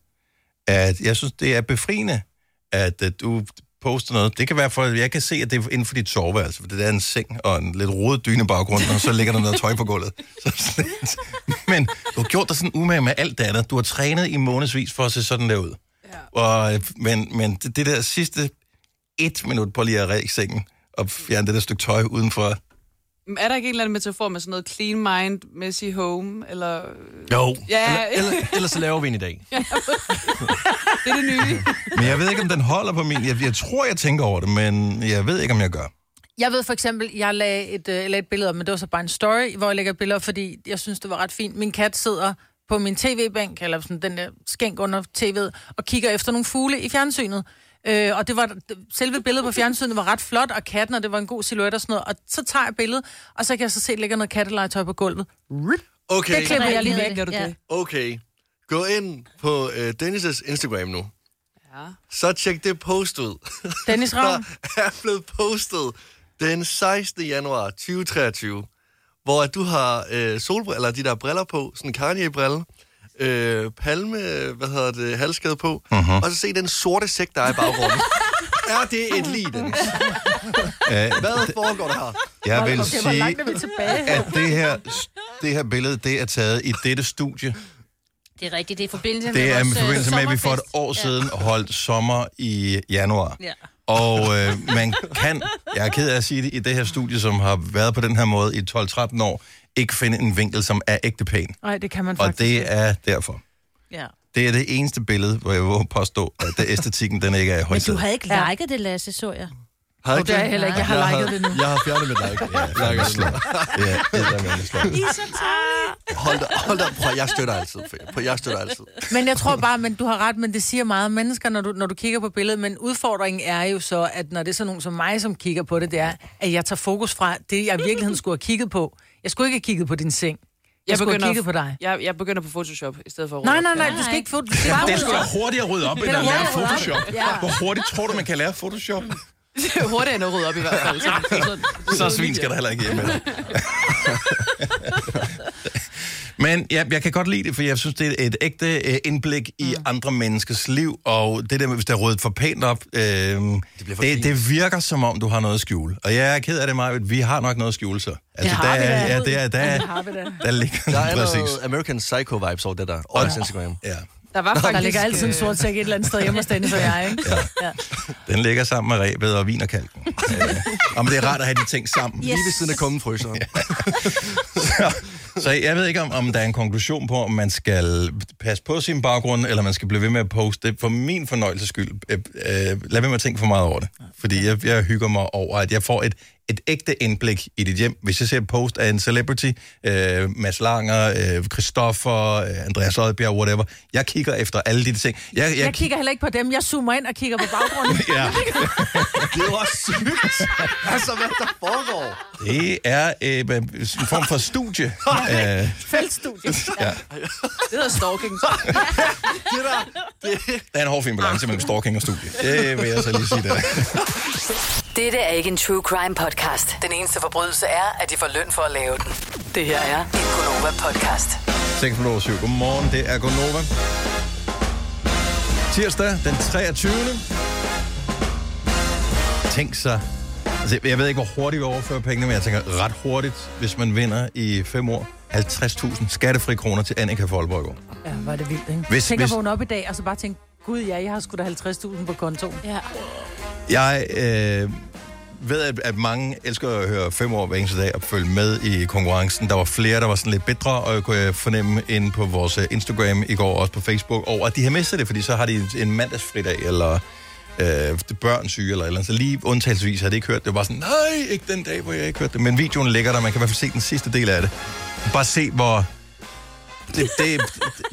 Speaker 1: at jeg synes, det er befriende, at, at du poster noget. Det kan være for, jeg kan se, at det er inden for dit soveværelse, for det er en seng og en lidt rodet dyne baggrund, og så ligger der noget tøj på gulvet. Så sådan lidt. Men du har gjort dig sådan umage med alt det andet. Du har trænet i månedsvis for at se sådan der ud. Ja. Og, øh, men men det, det der sidste et minut på lige at række sengen og fjerne det der stykke tøj udenfor,
Speaker 5: Men Er der ikke en eller anden metafor med sådan noget clean mind, messy home, eller... øh,
Speaker 4: Jo.
Speaker 5: Ja.
Speaker 4: Eller, eller, ellers så laver vi en i dag.
Speaker 5: Det er det nye.
Speaker 1: Men jeg ved ikke, om den holder på min... Jeg, jeg tror, jeg tænker over det, men jeg ved ikke, om jeg gør.
Speaker 3: Jeg ved for eksempel, jeg lagde et, øh, jeg lagde et billede op, men det var så bare en story, hvor jeg lægger et billede op, fordi jeg synes, det var ret fint. Min kat sidder på min tv-bænk, eller sådan den der skænk under tv'et, og kigger efter nogle fugle i fjernsynet. Øh, og det var, selve billedet på fjernsynet var ret flot, og katten, og det var en god silhuet og sådan noget. Og så tager jeg billedet, og så kan jeg så se, at der ligger noget kattelegetøj på gulvet.
Speaker 4: Okay.
Speaker 3: Det klipper jeg lige væk.
Speaker 5: Gør du det?
Speaker 4: okay, gå ind på øh, Dennis' Instagram nu.
Speaker 5: Ja.
Speaker 4: Så tjek det post ud,
Speaker 3: Dennis
Speaker 4: der
Speaker 3: Ravn,
Speaker 4: er blevet postet den 16. januar 2023, hvor at du har øh, solbriller, eller de der briller på, sådan Kanye-brille, øh, palme, øh, hvad hedder det, halskade på,
Speaker 1: Mhm.
Speaker 4: uh-huh. og så se den sorte sæk, der er i baggrunden. er det et lig, Dennis?
Speaker 1: Øh,
Speaker 4: Hvad foregår der her?
Speaker 1: Jeg vil
Speaker 3: okay, hvor
Speaker 1: sige,
Speaker 3: langt er vi tilbage?
Speaker 1: at det her det her billede, det er taget i dette studie.
Speaker 2: Det er rigtigt, det er i forbindelse med
Speaker 1: Det er i
Speaker 2: vores, øh,
Speaker 1: forbindelse med, at vi for et
Speaker 2: sommerfest.
Speaker 1: år siden holdt sommer i januar.
Speaker 2: Ja.
Speaker 1: Og øh, man kan, jeg er ked af at sige det, i det her studie, som har været på den her måde i 12-13 år, ikke finde en vinkel, som er ægte pæn.
Speaker 3: Nej, det kan man
Speaker 1: Og
Speaker 3: faktisk ikke.
Speaker 1: det er derfor.
Speaker 3: Ja.
Speaker 1: Det er det eneste billede, hvor jeg vil påstå, at det æstetikken den ikke er i
Speaker 2: Men du
Speaker 1: højsædet.
Speaker 2: havde ikke liket det, Lasse, så jeg.
Speaker 4: Har
Speaker 3: Og det er jeg heller ikke. Jeg har liket det nu.
Speaker 4: Jeg har fjernet mit like.
Speaker 1: Ja, det er slå. Ja, det er med slå.
Speaker 4: Hold da, hold da. Prøv, jeg støtter altid. Prøv, jeg støtter altid.
Speaker 3: Men jeg tror bare, men du har ret, men det siger meget om mennesker, når du, når du kigger på billedet. Men udfordringen er jo så, at når det er sådan nogen som mig, som kigger på det, det er, at jeg tager fokus fra det, jeg i virkeligheden skulle have kigget på. Jeg skulle ikke have kigget på din seng. Jeg, jeg skulle have kigget på dig.
Speaker 5: Jeg, jeg begynder på Photoshop i stedet for at
Speaker 3: Nej,
Speaker 5: rydde
Speaker 3: nej,
Speaker 5: op.
Speaker 3: nej, du skal ikke få... Du skal bare
Speaker 1: Det er
Speaker 3: ud.
Speaker 1: sgu da hurtigt at rydde op, end at lære
Speaker 3: hurtigt at rydde op.
Speaker 1: Photoshop.
Speaker 3: Ja.
Speaker 1: Hvor hurtigt tror du, man kan lære Photoshop?
Speaker 5: Det er hurtigere end at rydde op i hvert fald. Så, så,
Speaker 1: Så svin skal der heller ikke hjemme. Men ja, jeg kan godt lide det, for jeg synes, det er et ægte øh, indblik i andre menneskers liv, og det der med, hvis der er ryddet for pænt op, øh, det,
Speaker 4: for
Speaker 1: det,
Speaker 4: fint.
Speaker 1: det virker som om, du har noget at skjule. Og jeg er ked af det, Maja, vi har nok noget at skjule, så. Altså,
Speaker 3: har
Speaker 1: der,
Speaker 3: vi
Speaker 1: er,
Speaker 3: da.
Speaker 1: ja, det er, der, er,
Speaker 3: har vi da.
Speaker 1: der ligger
Speaker 4: Der er
Speaker 1: præcis.
Speaker 4: noget American Psycho-vibes over det der. Og Instagram.
Speaker 1: Ja.
Speaker 5: der var faktisk...
Speaker 3: Der ligger altid en
Speaker 5: øh,
Speaker 3: sort sæk et eller andet sted hjemme hos Dennis og jeg, ikke? Ja.
Speaker 1: Den ligger sammen med rebet og vinerkalken. øh, og men det er rart at have de ting sammen.
Speaker 4: Lige ved siden af kommen fryseren.
Speaker 1: Så jeg ved ikke, om, om der er en konklusion på, om man skal passe på sin baggrund, eller man skal blive ved med at poste. For min fornøjelses skyld, øh, øh, lad være med at tænke for meget over det. Fordi jeg, jeg hygger mig over, at jeg får et, et ægte indblik i dit hjem. Hvis jeg ser et post af en celebrity, øh, Mads Langer, øh, Christoffer, øh, Andreas Oddbjerg, whatever. Jeg kigger efter alle de ting. Jeg, jeg,
Speaker 3: Jeg kigger heller ikke på dem. Jeg zoomer ind og kigger på baggrunden.
Speaker 1: Ja,
Speaker 4: Det er jo også sygt. Altså, hvad der foregår?
Speaker 1: det er øh, en form for studie. Øh,
Speaker 3: Feltstudiet.
Speaker 1: ja.
Speaker 5: Det hedder stalking.
Speaker 4: Det der,
Speaker 1: Der er en hård balance mellem stalking og studie. Det vil jeg så lige sige der.
Speaker 6: Dette er ikke en true crime podcast. Den eneste forbrydelse er, at de får løn for at lave den. Det her er en Gunova podcast.
Speaker 1: 6 minutter over 7. Godmorgen, det er Gonova. Tirsdag den 23. Tænk sig. Altså, jeg ved ikke, hvor hurtigt vi overfører pengene, men jeg tænker ret hurtigt, hvis man vinder i 5 år. 50.000 skattefri kroner til Annika Folborg.
Speaker 3: Ja, var det vildt, ikke?
Speaker 1: Hvis-
Speaker 3: Hvis, Tænk
Speaker 1: hvis-
Speaker 3: at vågne op i dag, og så bare tænke, gud ja, jeg har sgu da 50.000 på kontoen.
Speaker 2: Ja.
Speaker 1: Jeg øh, ved, at, at mange elsker at høre fem år hver eneste dag og følge med i konkurrencen. Der var flere, der var sådan lidt bedre, og jeg kunne øh, fornemme inde på vores øh, Instagram i går og også på Facebook, over at de har mistet det, fordi så har de en- en mandagsfridag eller øh, børn syge eller et eller andet. Så lige undtagelsesvis har de ikke hørt det. Det var sådan, nej, ikke den dag, hvor jeg ikke hørte det. Men videoen ligger der, man kan i hvert fald se den sidste del af det. Bare se, hvor... Det, det,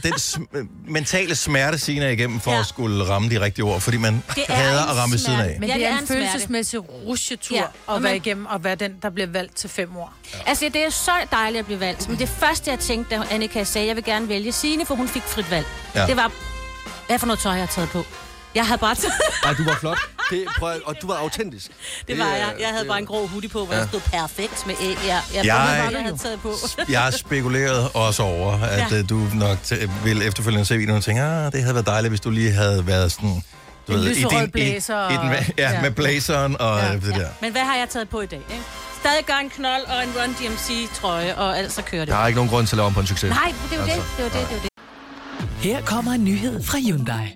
Speaker 1: den sm- mentale smerte, Sina, er igennem for ja.
Speaker 2: Ja.
Speaker 1: at skulle ramme de rigtige ord, fordi man
Speaker 2: Det er
Speaker 1: hader
Speaker 2: en
Speaker 1: at ramme ved siden
Speaker 2: smerte,
Speaker 1: af.
Speaker 3: Men
Speaker 2: Ja,
Speaker 3: ja, det er en
Speaker 2: smerte.
Speaker 3: følelsesmæssig rusjetur
Speaker 2: Ja,
Speaker 3: ja,
Speaker 2: og
Speaker 3: at være
Speaker 2: man-
Speaker 3: igennem og være den, der bliver valgt til fem år.
Speaker 2: Altså, det er så dejligt at blive valgt. Men det første, jeg tænkte, da Annika sagde, at jeg vil gerne vælge Signe, for hun fik frit valg.
Speaker 1: Ja.
Speaker 2: Ja. Det var, hvad for noget tøj, jeg har taget på? Jeg havde bare taget...
Speaker 4: Ej, du var flot. Det, prøv, at- og du var autentisk.
Speaker 2: Det var
Speaker 4: er-
Speaker 2: jeg. Jeg havde
Speaker 4: det- øh,
Speaker 2: bare en grå hoodie på, hvor ja. der stod perfekt med æg. Jeg, jeg,
Speaker 1: Jeg-
Speaker 2: jeg, jeg, jeg havde taget på.
Speaker 1: Jeg har spekuleret også over, at
Speaker 2: Ja.
Speaker 1: ja. du nok t- vil efterfølgende se videoen og tænke, ah, det havde været dejligt, hvis du lige havde været sådan... Du
Speaker 3: En
Speaker 1: i,
Speaker 3: lyserød
Speaker 1: i, i
Speaker 3: blæser og-
Speaker 1: den, va- ja, ja,
Speaker 3: ja.
Speaker 1: med blazeren og ja.
Speaker 3: Ja.
Speaker 1: det der. Ja.
Speaker 2: Men hvad har jeg taget på i dag? Ikke? Stadig gør en knold og en Run DMC-trøje, og ellers så kører det.
Speaker 4: Der er ikke Altså, nogen grund til at lave om på en succes.
Speaker 2: Nej, det er jo det. Det er jo det, det er jo det.
Speaker 9: Her kommer en nyhed fra Hyundai.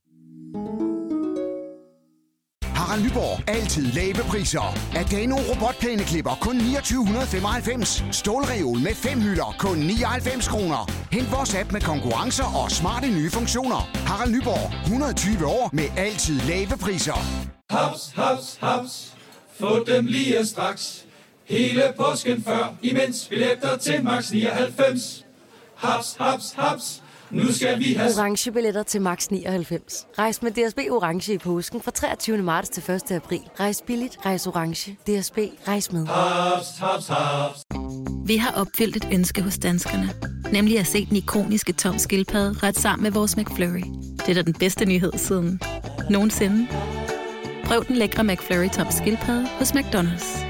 Speaker 10: Harald Nyborg. Altid lave priser. Adano robotplæneklipper kun 2995. Stålreol med fem hylder kun 99 kroner. Hent vores app med konkurrencer og smarte nye funktioner. Harald Nyborg. 120 år med altid lave priser.
Speaker 11: Haps, haps, haps. Få dem lige straks. Hele påsken før, imens billetter til max 99. Haps, haps, haps. Nu skal vi have
Speaker 12: Orange billetter til max 99. Rejs med DSB Orange i påsken fra 23. marts til 1. april. Rejs billigt, rejs orange. DSB, rejs med.
Speaker 11: haps, haps, haps.
Speaker 9: Vi har opfyldt et ønske hos danskerne. Nemlig at se den ikoniske tom skildpadde ret sammen med vores McFlurry.
Speaker 13: Det er da den bedste nyhed siden nogensinde. Prøv den lækre McFlurry Top Skilpad hos McDonald's.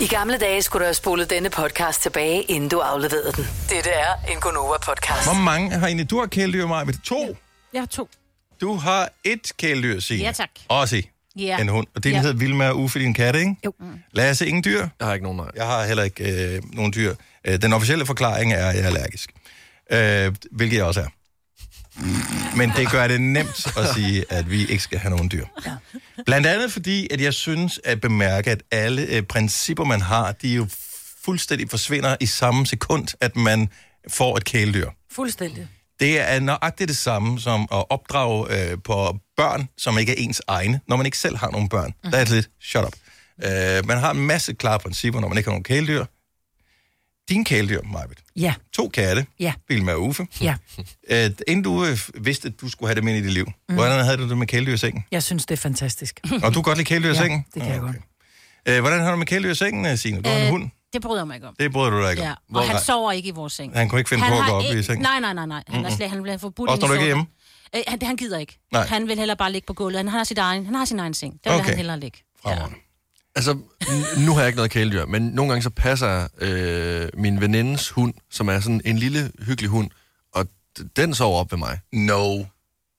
Speaker 6: I gamle dage skulle du have spolet denne podcast tilbage, inden du afleverede den. Dette er en Gonova-podcast.
Speaker 1: Hvor mange har egentlig... Du har kæledyr, Maja. To.
Speaker 3: Jeg har to.
Speaker 1: Du har et kæledyr, Signe.
Speaker 2: Ja, tak.
Speaker 1: Også
Speaker 2: Ja.
Speaker 1: en hund. Og din
Speaker 2: Ja.
Speaker 1: hedder Vilma og Uffe, din katte, ikke?
Speaker 2: Jo.
Speaker 1: Lasse, ingen dyr? Jeg har ikke nogen, Jeg har heller ikke øh, nogen dyr. Øh, den officielle forklaring er, at jeg er allergisk. Øh, hvilket jeg også er. Men det gør det nemt at sige, at vi ikke skal have nogen dyr. Blandt andet fordi, at jeg synes at bemærke, at alle øh, principper, man har, de jo fuldstændig forsvinder i samme sekund, at man får et kæledyr.
Speaker 3: Fuldstændig.
Speaker 1: Det er nøjagtigt det samme som at opdrage øh, på børn, som ikke er ens egne, når man ikke selv har nogen børn. Mm. Der er det lidt, shut up. Øh, man har en masse klare principper, når man ikke har nogen kæledyr. Din kæledyr, Majbet.
Speaker 3: Ja.
Speaker 1: To katte.
Speaker 3: Ja.
Speaker 1: Vilma og Uffe.
Speaker 3: Ja.
Speaker 1: Øh, inden du øh, vidste, at du skulle have dem ind i dit liv, mm. hvordan havde du det med kæledyr i sengen?
Speaker 3: Jeg synes, det er fantastisk.
Speaker 1: Og du kan godt lide kæledyr i
Speaker 3: Ja,
Speaker 1: sengen? Ah, Mm.
Speaker 3: det kan jeg godt.
Speaker 1: Øh, hvordan har du med kæledyr i sengen, øh, Signe? Du har en
Speaker 2: Øh,
Speaker 1: hund.
Speaker 2: Det bryder jeg mig ikke om.
Speaker 1: Det bryder du dig ikke om.
Speaker 2: Ja, og
Speaker 1: Hvor-
Speaker 2: han
Speaker 1: Nej.
Speaker 2: sover ikke i vores seng.
Speaker 1: Han kunne ikke finde på at
Speaker 2: har
Speaker 1: gå op i
Speaker 2: ikke-
Speaker 1: sengen?
Speaker 2: Nej, nej, nej, nej. Han, er
Speaker 1: Mm-mm.
Speaker 2: slet, han bliver forbudt.
Speaker 1: Også
Speaker 2: ind
Speaker 1: når
Speaker 2: i
Speaker 1: du ikke er
Speaker 2: sofaen. Øh, han, han gider ikke.
Speaker 4: Nej.
Speaker 2: Han vil hellere bare ligge på gulvet. Han har sin egen, han har sin egen seng. Der vil
Speaker 4: Okay.
Speaker 2: han hellere ligge.
Speaker 4: Altså, n- nu har jeg ikke noget kæledyr, men nogle gange så passer øh, min venindes hund, som er sådan en lille, hyggelig hund, og d- den sover op ved mig.
Speaker 1: No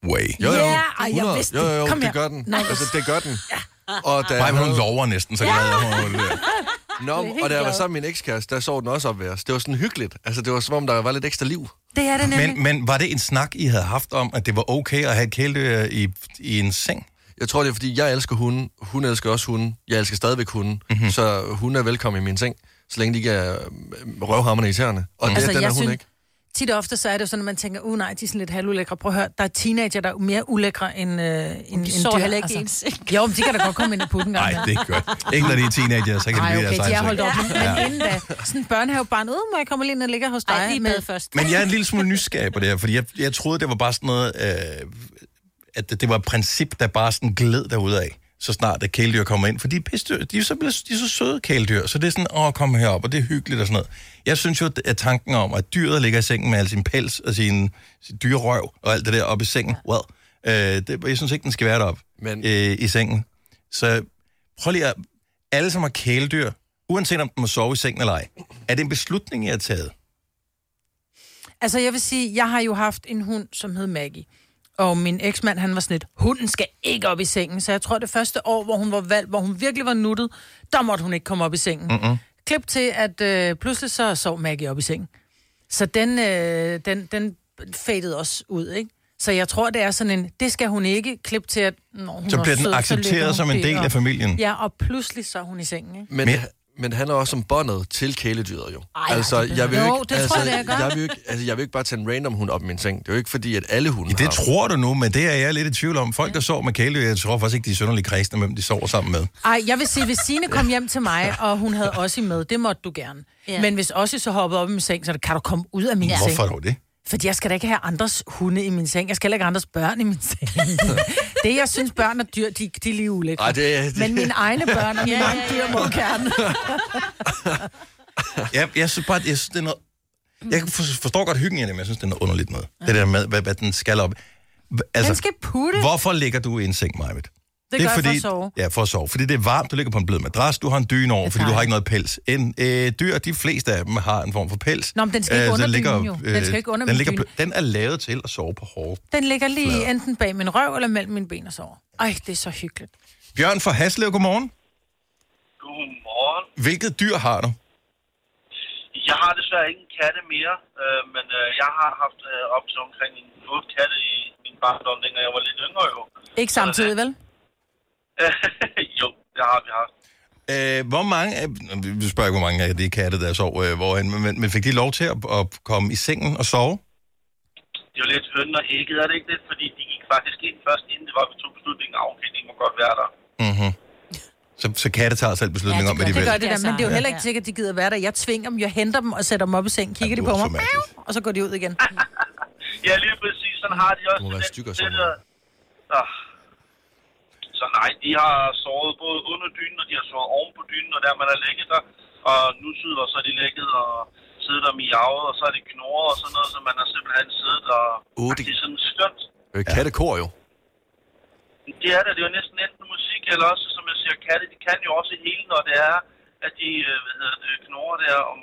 Speaker 1: way.
Speaker 4: Jo, jo.
Speaker 1: Ja, ej, jeg
Speaker 4: 100.
Speaker 1: vidste
Speaker 4: jo,
Speaker 1: det.
Speaker 4: jo, jo,
Speaker 1: Kom
Speaker 4: det
Speaker 1: her.
Speaker 4: gør den.
Speaker 1: Nej.
Speaker 4: Altså, det gør den. Og da
Speaker 1: Nej,
Speaker 4: jeg
Speaker 1: men hun
Speaker 4: havde-
Speaker 1: lover næsten, så glad er hun.
Speaker 4: Nå,
Speaker 3: Hun er helt
Speaker 4: og da jeg var
Speaker 3: glad.
Speaker 4: sammen med min ekskæreste, der sov den også op ved os. Det var sådan hyggeligt. Altså, det var som om, der var lidt ekstra liv.
Speaker 3: Det er det nemlig.
Speaker 1: Men, men var det en snak, I havde haft om, at det var okay at have et kæledyr i, i en seng?
Speaker 4: Jeg tror, det er, fordi jeg elsker hunden. Hun elsker også hunden. Jeg elsker stadigvæk hunden.
Speaker 1: Mhm.
Speaker 4: Mm-hmm. Så hun er velkommen i min seng, så længe de ikke er øh, røvhammerne i tæerne. Og det, altså, den er hun
Speaker 3: synes-
Speaker 4: ikke.
Speaker 3: Tit og ofte så er det jo sådan, at man tænker, uh nej, de er sådan lidt halvulækre. Prøv at høre, der er teenager, der er mere ulækre end, øh, end
Speaker 2: De
Speaker 3: end
Speaker 2: sover
Speaker 3: dyr,
Speaker 2: heller ikke i en
Speaker 3: seng. Jo, men de kan da godt komme ind og putte en gang.
Speaker 1: Nej, det er godt. Ikke når de er teenager, så kan
Speaker 3: Nej,
Speaker 1: det
Speaker 3: okay,
Speaker 1: blive
Speaker 3: de er holdt op. Men
Speaker 1: Ja.
Speaker 3: inden da, sådan en børnehavebarn, øh, må jeg komme lige ind og ligge hos dig? Ej, lige med
Speaker 2: først.
Speaker 1: Men jeg er en lille smule nysgerrig på det her, fordi jeg, jeg troede, det var bare sådan noget, øh, at det, det var et princip, der bare sådan gled derudad, så snart at kæledyr kommer ind. For de er, pissedyr, de er, så, blevet, de er så søde kæledyr, så det er sådan, åh, kom herop, og det er hyggeligt og sådan noget. Jeg synes jo, at tanken om, at dyret ligger i sengen med al sin pels og sin, sin dyrerøv og alt det der oppe i sengen, well, øh, det, jeg synes ikke, den skal være deroppe Men... øh, i sengen. Så prøv lige at, alle som har kæledyr, uanset om den må sove i sengen eller ej, er det en beslutning, I har taget?
Speaker 3: Altså, jeg vil sige, jeg har jo haft en hund, som hed Maggie. Og min eksmand, han var sådan lidt, hunden skal ikke op i sengen. Så jeg tror, det første år, hvor hun var valgt, hvor hun virkelig var nuttet, der måtte hun ikke komme op i sengen.
Speaker 14: Mm-mm.
Speaker 3: Klip til, at øh, pludselig så sov Maggie op i sengen. Så den, øh, den, den fadede også ud, ikke? Så jeg tror, det er sådan en, det skal hun ikke. Klip til, at når hun
Speaker 1: Så
Speaker 3: er
Speaker 1: bliver den
Speaker 3: sød,
Speaker 1: accepteret
Speaker 3: ligger hun
Speaker 1: som en
Speaker 3: der,
Speaker 1: del af
Speaker 3: og-
Speaker 1: familien.
Speaker 3: Ja, og pludselig så er hun i sengen, ikke?
Speaker 4: Men, men, men det handler også om båndet til kæledyret jo. Ej, altså,
Speaker 3: det
Speaker 4: jeg vil
Speaker 3: jo,
Speaker 4: ikke,
Speaker 3: det tror
Speaker 4: altså,
Speaker 3: jeg, det er godt.
Speaker 4: jeg vil ikke, altså, jeg vil ikke bare tage en random hund op i min seng. Det er jo ikke fordi, at alle hunde
Speaker 1: Det
Speaker 4: har.
Speaker 1: tror du nu, men det er jeg lidt i tvivl om. Folk, der sover med kæledyr, jeg tror faktisk ikke, de er synderligt kredsende, hvem de sover sammen med.
Speaker 3: Ej, jeg vil sige, hvis Signe kom hjem til mig, og hun havde Ossi med, det måtte du gerne.
Speaker 2: Ja.
Speaker 3: Ja. Men hvis Ossi så hoppede op i min seng, så er det, kan du komme ud af min
Speaker 1: Ja.
Speaker 3: ja. seng.
Speaker 1: Hvorfor dog det?
Speaker 3: Fordi jeg skal da ikke have andres hunde i min seng. Jeg skal heller ikke have andres børn i min seng. det, jeg synes, børn og dyr, de, de er lige ulækre.
Speaker 4: Ej, det er- det-
Speaker 3: Men mine egne børn og mine
Speaker 2: Ja, ja,
Speaker 3: egne
Speaker 2: ja.
Speaker 3: dyr må gerne.
Speaker 1: Jeg, jeg synes bare, jeg synes, det er noget... Jeg kan for- forstår godt hyggen i det, men jeg synes, det er noget underligt noget. Det der med, hvad, hvad den skal op. Hva- altså-
Speaker 3: Den skal putte.
Speaker 1: Hvorfor ligger du i en seng, Majved?
Speaker 3: Det gør jeg for at sove.
Speaker 1: Ja, for at sove. Fordi det er varmt, du ligger på en blød madras, du har en dyne over, fordi du har ikke noget pels. En øh, dyr, de fleste af dem har en form for pels.
Speaker 3: Nå, men den skal ikke
Speaker 1: Øh, så
Speaker 3: under
Speaker 1: ligger,
Speaker 3: dynen jo. Den
Speaker 1: øh,
Speaker 3: skal ikke under
Speaker 1: den,
Speaker 3: min
Speaker 1: ligger,
Speaker 3: dyne.
Speaker 1: blød- den er lavet til at sove på hårde.
Speaker 3: Den ligger lige
Speaker 1: Flader.
Speaker 3: enten bag min røv eller mellem mine ben og sover. Ej, det er så hyggeligt.
Speaker 1: Bjørn fra Haslev, godmorgen.
Speaker 15: Godmorgen.
Speaker 1: Hvilket dyr har du?
Speaker 15: Jeg har desværre ingen katte mere, øh, men øh, jeg har haft øh, op til omkring en otte katte i min barndom, dengang jeg var lidt yngre jo.
Speaker 3: Ikke samtidig, vel?
Speaker 15: jo, det har vi haft.
Speaker 1: Øh, hvor mange af, vi spørger ikke, hvor mange af de katte, der sov øh, hvorhen, men- men, men fik de lov til at, at komme i sengen og sove?
Speaker 15: Det er jo lidt høn og ægget, er det ikke det? Fordi de gik faktisk ind først, inden det var, vi tog beslutningen, af, okay, de må godt være der.
Speaker 1: Mm-hmm. Så, så katte tager selv beslutningen ja, om, hvad de
Speaker 3: det
Speaker 1: vil.
Speaker 3: gør det der, men det er jo heller ikke sikkert, at de gider være der. Jeg tvinger dem, jeg henter dem og sætter dem op i sengen, kigger de på mig, og så går de ud igen.
Speaker 15: Ja, lige præcis. Sådan har de også. Det må være stykker sådan ah. Så nej, de har sovet både under dynen, og de har sovet oven på dynen, og der man har ligget der. Og nu sidder så de ligget, og så siddet og miavet, og så er det knurret og sådan noget, så man har simpelthen siddet og...
Speaker 4: Åh, det...
Speaker 15: Det er sådan skønt.
Speaker 4: Øh, kattekor jo.
Speaker 15: Det er det, det er jo næsten enten musik, eller også, som jeg siger, katte, de kan jo også hele, når det er, at de øh, hvad hedder det, knurrer der. Om,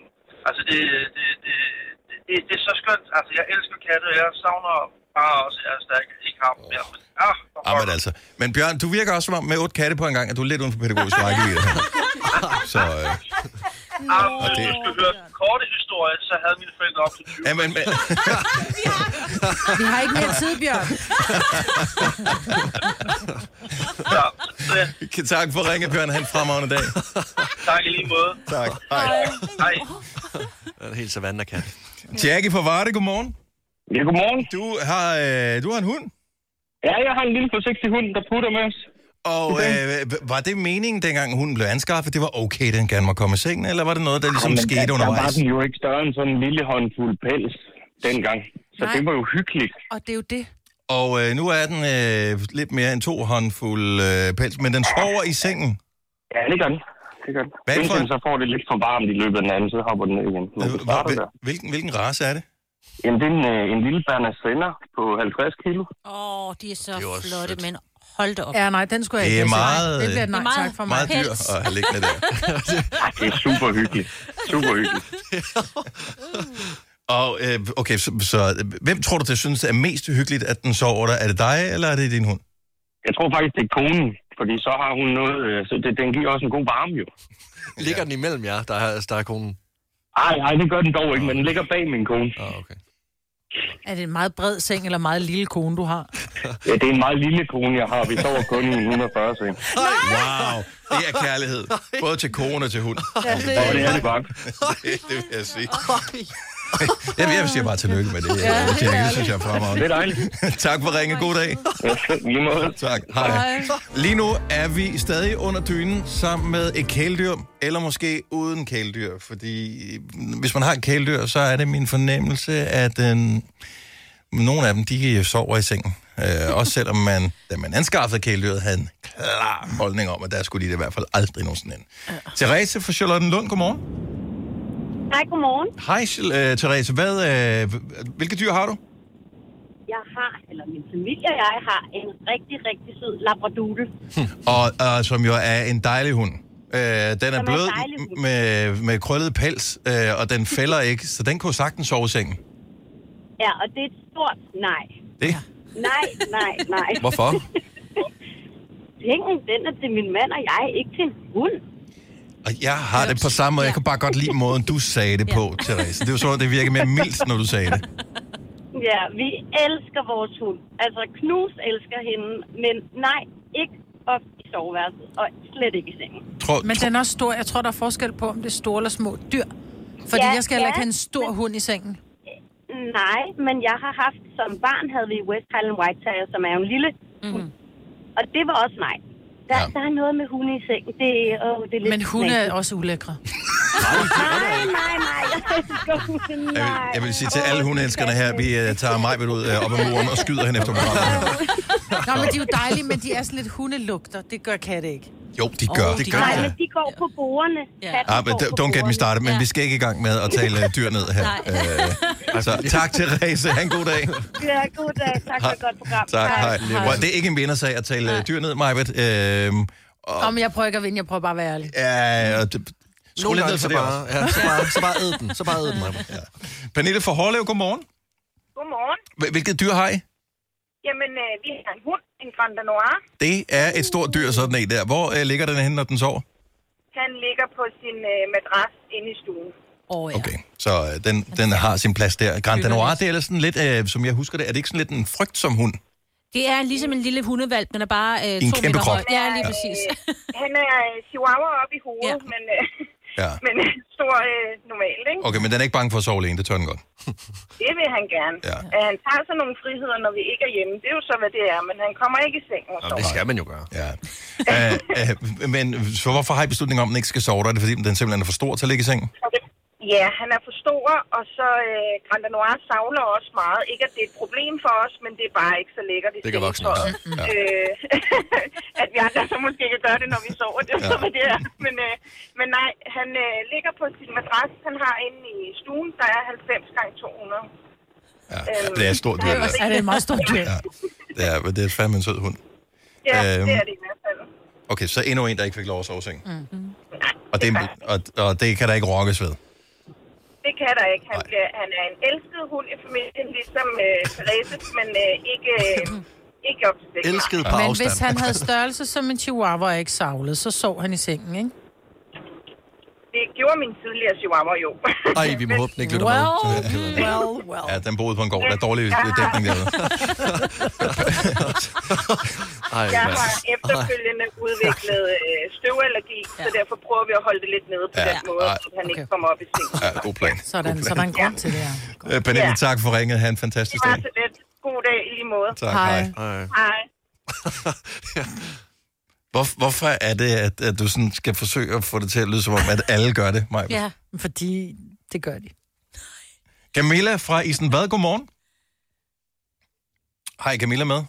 Speaker 15: altså, det, det, det, det, det, det, er så skønt. Altså, jeg elsker katte, og jeg savner bare også, at jeg er stærk, ikke har dem der. Men, ah,
Speaker 1: Ah, men altså. Men Bjørn, du virker også som om med otte katte på en gang, at du er lidt uden for pædagogisk rækkevidde. her. Så, øh,
Speaker 15: ah, hvis du skal høre den korte historie, så havde mine forældre op til 20.
Speaker 1: ja, men, men,
Speaker 3: Vi har ikke mere tid, Bjørn.
Speaker 1: tak for at ringe, Bjørn. Han fremragende dag.
Speaker 15: tak i lige måde.
Speaker 1: Tak.
Speaker 15: Hej. Hej.
Speaker 4: Det er helt savannakat.
Speaker 1: Jackie fra Varde, godmorgen.
Speaker 14: Ja, godmorgen.
Speaker 1: Du har, øh, du har en hund?
Speaker 14: Ja, jeg har en lille forsigtig hund, der putter med os.
Speaker 1: Og øh, var det meningen, dengang hunden blev anskaffet, det var okay, den gerne må komme i sengen, eller var det noget, der ligesom
Speaker 14: Jamen,
Speaker 1: skete
Speaker 14: der, Der var
Speaker 1: undervejs?
Speaker 14: den jo ikke større end sådan en lille håndfuld pels dengang. Så
Speaker 3: Nej.
Speaker 14: det var jo hyggeligt.
Speaker 3: Og det er jo det.
Speaker 1: Og øh, nu er den øh, lidt mere end to håndfuld øh, pels, men den sover i sengen.
Speaker 14: Ja, det gør den. Det gør den.
Speaker 1: Hvad er det for
Speaker 14: Indtil så får det lidt for varmt i løbet af den anden, så hopper den ned igen. Men det starter der.
Speaker 1: Hvilken, hvilken race er det?
Speaker 14: Jamen, det er en, øh, en lille Berner Sender på 50 kilo.
Speaker 2: Åh, oh, de er så flotte, men hold da op.
Speaker 3: Ja, nej, den skulle jeg
Speaker 14: Det er
Speaker 3: ikke have sagt.
Speaker 14: meget,
Speaker 3: Det bliver et
Speaker 14: øh,
Speaker 3: nej tak for mig.
Speaker 14: meget dyr
Speaker 3: Pels.
Speaker 14: at have
Speaker 1: liggende der.
Speaker 14: Ej, det er super hyggeligt. Super hyggeligt.
Speaker 1: Og øh, okay, så, så øh, hvem tror du, det synes er mest hyggeligt, at den sover der? Er det dig, eller er det din hund?
Speaker 14: Jeg tror faktisk, det er konen, fordi så har hun noget... øh, Så det, den giver også en god varme, jo.
Speaker 4: Ligger den imellem jer, der er, der er konen?
Speaker 14: Ej, nej, det gør den dog ikke, men den ligger bag min kone.
Speaker 4: Ah, okay.
Speaker 3: Er det en meget bred seng, eller en meget lille kone, du har?
Speaker 14: Ja, det er en meget lille kone, jeg har. Vi sover kun i en 140 seng.
Speaker 1: Wow, det er kærlighed. Både til kone og til hund.
Speaker 14: Ja, det er- Ja, det er det
Speaker 1: bare. det, det vil jeg sige. Jeg, jeg siger bare tillykke med det.
Speaker 14: Ja, det er
Speaker 1: det, det synes
Speaker 14: dejligt.
Speaker 1: jeg er fremragende.
Speaker 14: Det er dejligt.
Speaker 1: tak for ringen. God dag.
Speaker 14: Lige måde.
Speaker 1: Tak. Hej. Lige nu er vi stadig under dynen sammen med et kæledyr, eller måske uden kæledyr. Fordi øh, hvis man har et kæledyr, så er det min fornemmelse, at øh, nogle af dem, de sover i sengen. Øh, også selvom man, da man anskaffede kæledyret, havde en klar holdning om, at der skulle de det i hvert fald aldrig nogensinde ende. Therese fra Charlottenlund, godmorgen.
Speaker 16: Hej, godmorgen.
Speaker 1: Hej, uh, Therese. Hvad, uh, hvilke dyr har du?
Speaker 16: Jeg har, eller min familie og jeg har en rigtig, rigtig sød labradoodle.
Speaker 1: Og uh, som jo er en dejlig hund. Uh, den er
Speaker 16: en
Speaker 1: blød
Speaker 16: dejlig hund.
Speaker 1: med, med krøllet pels, uh, og den fælder ikke, så den kunne sagtens sove i sengen.
Speaker 16: Ja, og det er et stort nej.
Speaker 1: Det?
Speaker 16: Nej, nej, nej.
Speaker 1: Hvorfor?
Speaker 16: Sengen, den er til min mand og jeg, ikke til en hund.
Speaker 1: Og jeg har det på samme måde. Jeg kan bare godt lide måden, du sagde det på, Therese. Det var sådan, det virkede mere mildt, når du sagde det.
Speaker 16: Ja, vi elsker vores hund. Altså, Knus elsker hende, men nej, ikke op i soveværelset, og slet ikke i sengen.
Speaker 1: Tror,
Speaker 3: men den er også stor. Jeg tror, der er forskel på, om det er store eller små dyr. Fordi
Speaker 16: Ja,
Speaker 3: ja, jeg skal heller ikke
Speaker 16: ja, Mm-hmm.
Speaker 3: have en stor hund i sengen.
Speaker 16: Nej, men jeg har haft, som barn havde vi West Highland White Terrier, som er jo en lille hund. Og det var også nej. Der, ja. der er noget med hunde i sengen. Det, åh, det er lidt
Speaker 3: Men hunde er
Speaker 16: knækkende.
Speaker 3: også ulækre.
Speaker 16: Nej, nej, nej. Jeg elsker hunde,
Speaker 1: Jeg
Speaker 16: nej.
Speaker 1: vil, jeg vil sige til alle hundeelskerne her, vi uh, tager mig ud uh, op ad muren og skyder hende efter programmet.
Speaker 3: Nå, men de er jo dejlige, men de er sådan lidt hundelugter. Det gør katte ikke.
Speaker 1: Jo, de gør.
Speaker 3: Åh,
Speaker 1: det
Speaker 3: de
Speaker 1: gør
Speaker 3: gør.
Speaker 1: det.
Speaker 3: Nej,
Speaker 16: Men de går på bordene. Katten
Speaker 1: Ah, men
Speaker 16: går på
Speaker 1: don't get me
Speaker 16: bordene.
Speaker 1: started, men ja. vi skal ikke i gang med at tale øh, dyr ned her.
Speaker 16: Nej.
Speaker 1: Øh,
Speaker 4: Altså,
Speaker 1: så tak til Rese. Ha' en god dag.
Speaker 16: Ja, god dag. Tak for et godt program.
Speaker 1: Tak, hej. hej. Det er ikke en vindersag at tale øh, dyr ned, Majbet. Øhm, og,
Speaker 3: Om jeg prøver ikke at vinde, jeg prøver bare at være ærlig.
Speaker 1: ja, og det- skru
Speaker 4: Nogle
Speaker 1: lidt
Speaker 4: gange
Speaker 1: ned
Speaker 4: så
Speaker 1: for det
Speaker 4: bare-
Speaker 1: også.
Speaker 4: ja, så bare- så bare æd
Speaker 1: den. Så bare æd den, Majbet. Ja. Pernille fra Hårlev, godmorgen.
Speaker 17: Godmorgen.
Speaker 1: Hvil- Hvilket dyr har I?
Speaker 17: Jamen, øh, vi har en hund, en Grand Noir.
Speaker 1: Det er et stort dyr, sådan en der. Hvor øh, ligger den henne, når den sover?
Speaker 17: Han ligger på sin øh, madras inde i stuen.
Speaker 3: Oh, ja.
Speaker 1: Okay. Så øh, den, den har sin plads der. Grand
Speaker 2: Hygger
Speaker 1: Danois,
Speaker 2: lidt.
Speaker 1: det er ellers sådan lidt, øh, som jeg husker det, er det ikke sådan lidt en frygt som hund?
Speaker 2: Det er ligesom en lille hundevalp, den er bare øh,
Speaker 1: en
Speaker 2: to
Speaker 1: kæmpe
Speaker 2: meter
Speaker 1: krop.
Speaker 2: høj. Ja, lige præcis.
Speaker 17: Han er øh, chihuahua op i hovedet, ja. men, øh,
Speaker 1: Ja.
Speaker 17: men øh, stor øh, normalt, ikke?
Speaker 1: Okay, men den er ikke bange for at sove alene, det tør den godt.
Speaker 17: Det vil han gerne.
Speaker 1: Ja.
Speaker 17: Øh, han tager sig nogle friheder, når vi ikke er hjemme. Det er jo så, hvad det er, men han kommer ikke i seng og
Speaker 1: Nå,
Speaker 17: sover.
Speaker 1: det skal man jo gøre. Ja. Æh, øh, men så hvorfor har I beslutningen om, at den ikke skal sove der? Er det fordi, den simpelthen er for stor til at ligge i sengen?
Speaker 17: Ja, han er for stor, og så øh, Grand Noir savler også meget. Ikke at det er et problem for os, men det er bare ikke så lækkert. i
Speaker 1: Det kan voksne
Speaker 17: sengetøjet.
Speaker 1: også. Ja.
Speaker 17: Øh, at vi andre så måske kan gøre det, når vi sover. Det er ja. så, hvad det er. Men, øh, men nej, han øh, ligger på sin madras, han har inde i stuen. Der er 90 gange 200. Ja, Øhm,
Speaker 1: det er et stort dyr, det der. Ja, det er et meget stort dyr.
Speaker 17: Ja,
Speaker 1: Ja, men det er fandme en sød hund.
Speaker 17: ja
Speaker 1: Øhm.
Speaker 17: det er det i hvert fald.
Speaker 1: Okay, så endnu en, der ikke fik lov at sove i seng.
Speaker 3: Mm-hmm.
Speaker 1: Og det, og, og det kan der ikke rokkes ved.
Speaker 17: Det kan der ikke. Han, bliver, han er en elsket hund i familien, ligesom øh, Therese, men øh, ikke, øh, ikke op til seks.
Speaker 3: Men hvis han havde størrelse som en chihuahua og ikke savlet, så sov han i sengen, ikke?
Speaker 17: Det gjorde min tidligere chihuahua jo.
Speaker 4: Ej, vi må håbe, den ikke lytter
Speaker 17: Well,
Speaker 4: med.
Speaker 17: well, well.
Speaker 1: Ja, den boede på en gård. Der er dårlig dækning derude.
Speaker 4: Ej,
Speaker 17: Jeg
Speaker 4: mand.
Speaker 17: har efterfølgende udviklet øh, støvallergi, ja. så derfor prøver vi at holde det lidt nede på
Speaker 1: Ja.
Speaker 17: ja. den måde,
Speaker 1: Ej.
Speaker 17: så han ikke kommer op i seng.
Speaker 1: Ja, god plan.
Speaker 3: Sådan, så der er en grund til det her.
Speaker 1: Øh, Pernille,
Speaker 17: Ja.
Speaker 1: tak for ringet. Han en
Speaker 17: Det
Speaker 1: fantastisk
Speaker 17: var
Speaker 1: dag.
Speaker 17: så lidt. God dag i lige måde.
Speaker 1: Tak, hej. Hej.
Speaker 17: Hej.
Speaker 1: Hvor, hvorfor er det, at, at du sådan skal forsøge at få det til at lyde som om, at alle gør det, Maja?
Speaker 3: Ja, fordi det gør de.
Speaker 1: Camilla fra Isenbad, godmorgen. Hej Camilla med.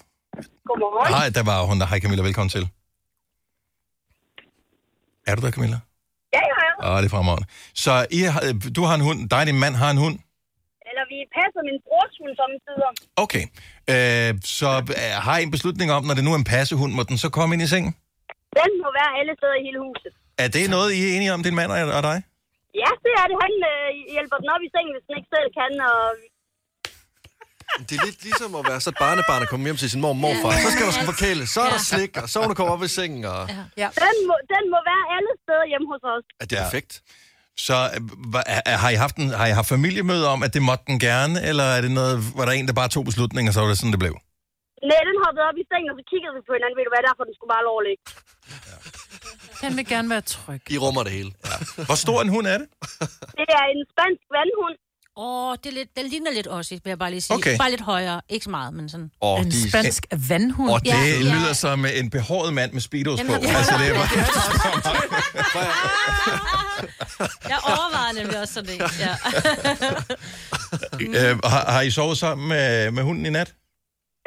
Speaker 18: Godmorgen.
Speaker 1: Nej, der var hun der. Hej Camilla, velkommen til. Er du der, Camilla?
Speaker 18: Ja, ja, ja.
Speaker 1: Åh, Ah, det er fremragende. Så I har, øh, du har en hund, dig og din mand har en hund.
Speaker 18: Eller vi passer min brors hund samtidig.
Speaker 1: Okay. Øh, så øh, har I en beslutning om, når det nu er en passehund, må den så komme ind i sengen?
Speaker 18: Den må være alle steder i hele huset.
Speaker 1: Er det noget, I er enige om, din mand og og dig?
Speaker 18: Ja, det er det. Han øh, hjælper den op i sengen, hvis den ikke selv kan. Og...
Speaker 4: Det er lidt ligesom at være så et barnebarn og komme hjem til sin mor og morfar. Så skal der sgu forkæle, så er der slik, og så må du komme op i sengen. Og...
Speaker 18: Ja. Den, må, den må være alle steder hjemme hos os.
Speaker 4: Er det perfekt?
Speaker 1: Så øh, hva- er- er- har I, haft en, har I haft familiemøde om, at det måtte den gerne, eller er det noget, var der en, der bare tog beslutningen, og så var det sådan, det blev?
Speaker 18: Nej, den hoppede op i sengen, og så kiggede vi på hinanden. Ved du hvad, derfor den skulle bare have lov at ligge.
Speaker 3: Han vil gerne være tryg.
Speaker 4: I rummer det hele.
Speaker 1: Ja. Hvor stor en hund er det?
Speaker 18: Det er en spansk vandhund.
Speaker 2: Åh, det er lidt, den ligner lidt også, vil jeg bare lige sige.
Speaker 1: Okay.
Speaker 2: Bare lidt højere. Ikke så meget, men sådan.
Speaker 1: Åh, En de- spansk
Speaker 3: vandhund.
Speaker 1: Og det ja, lyder som øh, en behåret mand med speedos
Speaker 2: Jamen,
Speaker 1: på.
Speaker 2: har vi-
Speaker 1: Altså, det er bare...
Speaker 2: Jeg overvejer nemlig også sådan det. Ja.
Speaker 1: øh, har, har I sovet sammen med, med hunden i nat?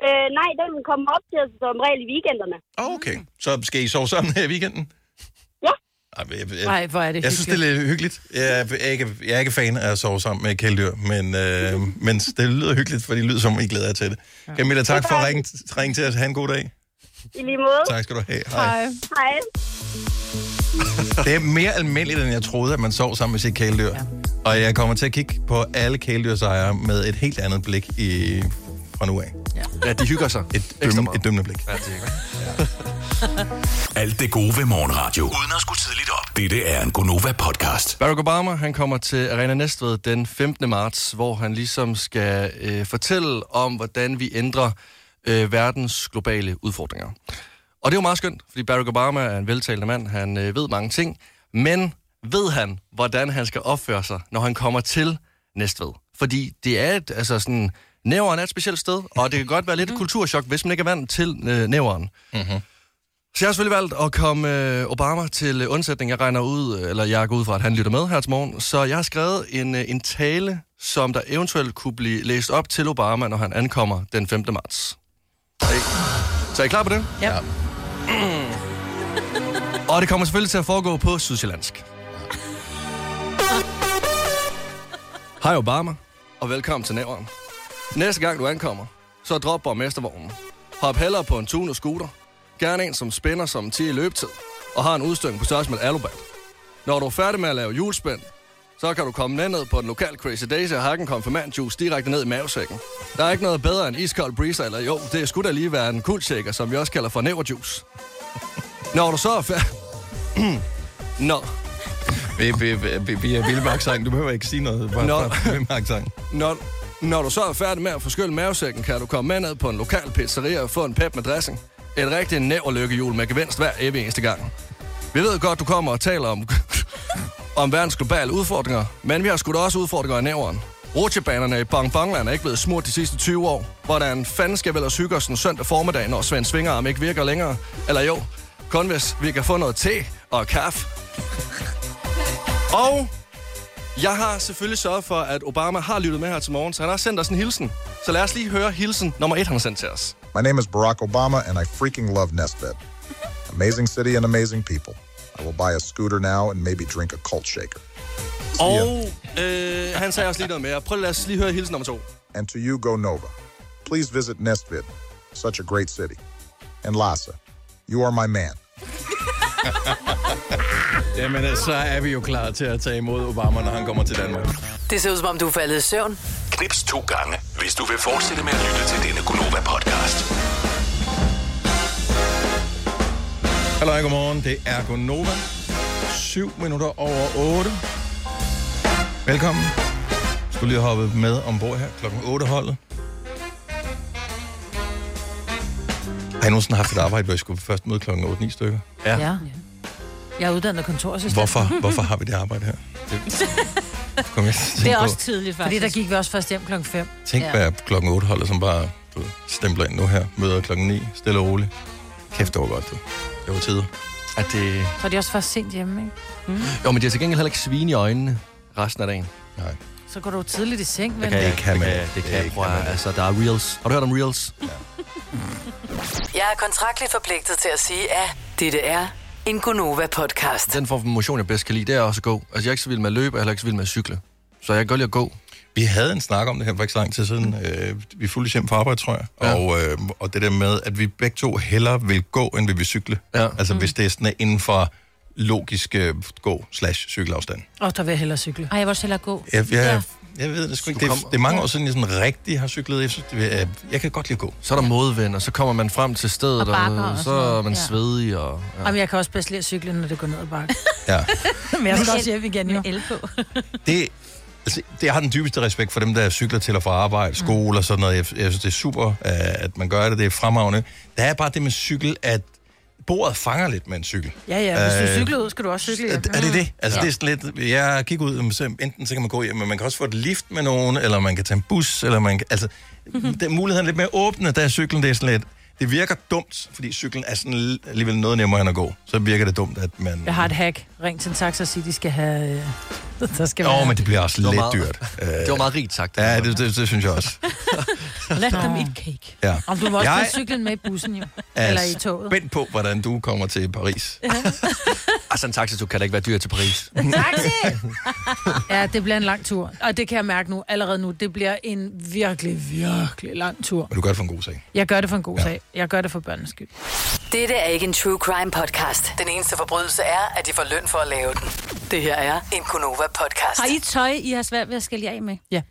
Speaker 18: Øh, nej, den vil komme op til os som regel i weekenderne.
Speaker 1: Okay. Så skal I sove sammen her i weekenden?
Speaker 18: Ja.
Speaker 1: Ej, jeg, jeg,
Speaker 18: Ej, hvor er det
Speaker 1: Jeg synes, det er lidt hyggeligt. Jeg er, jeg er, ikke, jeg er ikke fan af at sove sammen med kæledyr, men, øh, men det lyder hyggeligt, for det lyder som, I glæder jer til det. Ja. Camilla, tak for at ringe, ringe til os. Ha' en god dag.
Speaker 18: I lige måde.
Speaker 1: Tak skal du have.
Speaker 18: Hej. Hej.
Speaker 1: Det er mere almindeligt, end jeg troede, at man sov sammen med sit kæledyr. Ja. Og jeg kommer til at kigge på alle kæledyrsejere med et helt andet blik i, fra nu af. Ja.
Speaker 4: ja, de hygger sig.
Speaker 1: Et, dømme, et dømmende blik.
Speaker 4: Ja, det er
Speaker 7: Alt det gode ved morgenradio. Uden at skulle tidligt op. Dette er en Gonova-podcast.
Speaker 4: Barack Obama, han kommer til Arena Næstved den 15. marts, hvor han ligesom skal øh, fortælle om, hvordan vi ændrer øh, verdens globale udfordringer. Og det er jo meget skønt, fordi Barack Obama er en veltalende mand, han øh, ved mange ting, men ved han, hvordan han skal opføre sig, når han kommer til Næstved? Fordi det er et, altså sådan, næveren er et specielt sted, og det kan godt være lidt et kulturschok, hvis man ikke er vant til øh, næveren.
Speaker 1: Mm-hmm.
Speaker 4: Så jeg har selvfølgelig valgt at komme øh, Obama til øh, undsætning. Jeg regner ud, eller jeg går ud fra, at han lytter med her til morgen. Så jeg har skrevet en, øh, en tale, som der eventuelt kunne blive læst op til Obama, når han ankommer den 5. marts. Så er I, så er I klar på det?
Speaker 3: Ja.
Speaker 4: Og det kommer selvfølgelig til at foregå på sydsjællandsk.
Speaker 3: Mm.
Speaker 4: Hej Obama, og velkommen til Nævren. Næste gang du ankommer, så drop borgmestervognen. Hop hellere på en tunet scooter. Gerne en, som spænder som 10 i løbetid, og har en udstødning på størrelse med et alubat. Når du er færdig med at lave julespænd, så kan du komme ned, ned på den lokale Crazy Daisy og hakke en konfirmand juice direkte ned i mavesækken. Der er ikke noget bedre end iskold breezer, eller jo, det skulle da lige være en kuldshaker, som vi også kalder for næverjuice. Når du så er færdig... Nå,
Speaker 1: Vi, vi, vi, vi er vilde med accent. Du behøver ikke sige noget. Bare,
Speaker 4: Nå.
Speaker 1: bare med accent.
Speaker 4: Når, når du så er færdig med at forskylle mavesækken, kan du komme med ned på en lokal pizzeria og få en pep med dressing. Et rigtig næver lykkehjul med gevinst hver evig eneste gang. Vi ved godt, du kommer og taler om, om verdens globale udfordringer, men vi har sgu da også udfordringer i næveren. Rutsjebanerne i Bongbongland er ikke blevet smurt de sidste 20 år. Hvordan fanden skal vi ellers hygge os en søndag formiddag, når Svend Svingerarm ikke virker længere? Eller jo, kun hvis vi kan få noget te og kaffe. Og Jeg har selvfølgelig sørget for, at Obama har lyttet med her til morgen, så han har sendt os en hilsen. Så lad os lige høre hilsen nummer et, han har sendt til os.
Speaker 19: My name is Barack Obama, and I freaking love Nesbed. Amazing city and amazing people. I will buy a scooter now and maybe drink a cult shaker.
Speaker 4: Og øh, han sagde også lige noget mere. Prøv at lad os lige høre hilsen nummer to.
Speaker 19: And to you, Go Nova. Please visit Nesbid, such a great city. And Lhasa, you are my man.
Speaker 1: Jamen, øh, så er vi jo klar til at tage imod Obama, når han kommer til Danmark.
Speaker 6: Det ser ud som om, du er faldet i søvn.
Speaker 7: Knips to gange, hvis du vil fortsætte med at lytte til denne Gunova-podcast.
Speaker 1: Hallo, og godmorgen. Det er Gonova. 7 minutter over 8. Velkommen. Skulle lige hoppe med ombord her. Klokken 8 holdet. Har I nogensinde haft et arbejde, hvor I skulle først møde klokken 8-9 stykker?
Speaker 3: ja. Jeg er uddannet kontorassistent.
Speaker 1: Hvorfor, hvorfor har vi det arbejde her? Det, kom jeg til at tænke på.
Speaker 3: tidligt, faktisk. Fordi der gik vi også først hjem klokken 5.
Speaker 1: Tænk, ja. hvad klokken 8 holder, som bare du, ved, stempler ind nu her. Møder klokken 9, stille og roligt. Kæft, det var godt, du. Det var tider.
Speaker 4: At det...
Speaker 3: Så er de også først sent hjemme, ikke? Mm.
Speaker 4: Jo, men de har til gengæld heller ikke svin i øjnene resten af dagen.
Speaker 1: Nej.
Speaker 3: Så går du jo tidligt i seng, men...
Speaker 4: Det kan, jeg ikke. det kan, jeg- det kan jeg, prøv at- Altså, der er reels. Har du hørt om reels?
Speaker 6: Jeg er kontraktligt forpligtet til at sige, at dette er en Gunova-podcast.
Speaker 4: Den form for motion, jeg bedst kan lide, det er også at gå. Altså, jeg er ikke så vild med at løbe, og jeg er heller ikke så vild med at cykle. Så jeg kan godt lide at gå.
Speaker 1: Vi havde en snak om det her for ikke så lang tid siden. Øh, vi fulgte hjem fra arbejde, tror jeg. Ja. Og, øh, og det der med, at vi begge to hellere vil gå, end vi vil cykle. Ja. Altså, mm. hvis det er sådan inden for logisk øh, gå slash cykelafstand.
Speaker 3: Åh, der vil jeg hellere cykle. Ej, jeg vil også hellere gå.
Speaker 1: Jeg, jeg, ja. jeg ved det sgu ikke. Det, er- det er mange år siden, jeg sådan rigtig har cyklet. Jeg, synes, det, er- jeg kan godt lide at gå.
Speaker 4: Så er der modvind, og så kommer man frem til stedet,
Speaker 3: Og bakker
Speaker 4: og,
Speaker 3: og
Speaker 4: så
Speaker 3: sådan noget.
Speaker 4: er man
Speaker 3: Ja.
Speaker 4: svedig. Og,
Speaker 3: Ja. Jamen, jeg kan også bedst lide at cykle, når det går ned ad bakke.
Speaker 1: Ja.
Speaker 3: men jeg skal også hjem igen, jo. el på.
Speaker 1: Det, altså, det jeg har den dybeste respekt for dem, der cykler til og fra
Speaker 3: Mm.
Speaker 1: arbejde, skole og sådan noget. Jeg, jeg synes, det er super, øh, at man gør det. Det er fremragende. Der er bare det med cykel, at bordet fanger lidt med en cykel.
Speaker 3: Ja, ja, hvis du
Speaker 1: Øh,
Speaker 3: cykler ud, skal du også cykle hjem.
Speaker 1: Er det det? Altså,
Speaker 3: Ja.
Speaker 1: ja. det er sådan lidt... Jeg gik ud, så enten så kan man gå hjem, men man kan også få et lift med nogen, eller man kan tage en bus, eller man kan... Altså,
Speaker 3: Mhm.
Speaker 1: der er muligheden lidt mere åbne, der er cyklen, det er sådan lidt... Det virker dumt, fordi cyklen er sådan alligevel noget nemmere end at gå. Så virker det dumt, at man...
Speaker 3: Jeg har et hack. Ring til en taxa og sig, de skal have... Øh, der skal
Speaker 1: Åh,
Speaker 3: være...
Speaker 1: oh, men det bliver også
Speaker 4: Det var
Speaker 1: lidt
Speaker 4: meget-
Speaker 1: dyrt.
Speaker 4: det var meget rigt sagt.
Speaker 1: Ja, det, det, det synes jeg også.
Speaker 3: Let them eat cake.
Speaker 1: Ja.
Speaker 3: Om du må også
Speaker 1: jeg Altså,
Speaker 3: jeg... cyklen med i bussen, jo. Eller i
Speaker 1: er
Speaker 3: toget.
Speaker 1: spændt på, hvordan du kommer til Paris.
Speaker 4: altså, en taxatur kan da ikke være dyr til Paris.
Speaker 3: Ja, det bliver en lang tur. Og det kan jeg mærke nu, allerede nu. Det bliver en virkelig, virkelig lang tur.
Speaker 1: Men du gør det for en god sag.
Speaker 3: Jeg gør det for en god ja. sag. Jeg gør det for børnenes skyld.
Speaker 6: Dette er ikke en true crime podcast. Den eneste forbrydelse er, at de får løn for at lave den. Det her er en Gunova-podcast.
Speaker 2: Har I tøj, I har svært ved at skælde jer af med?
Speaker 3: Ja.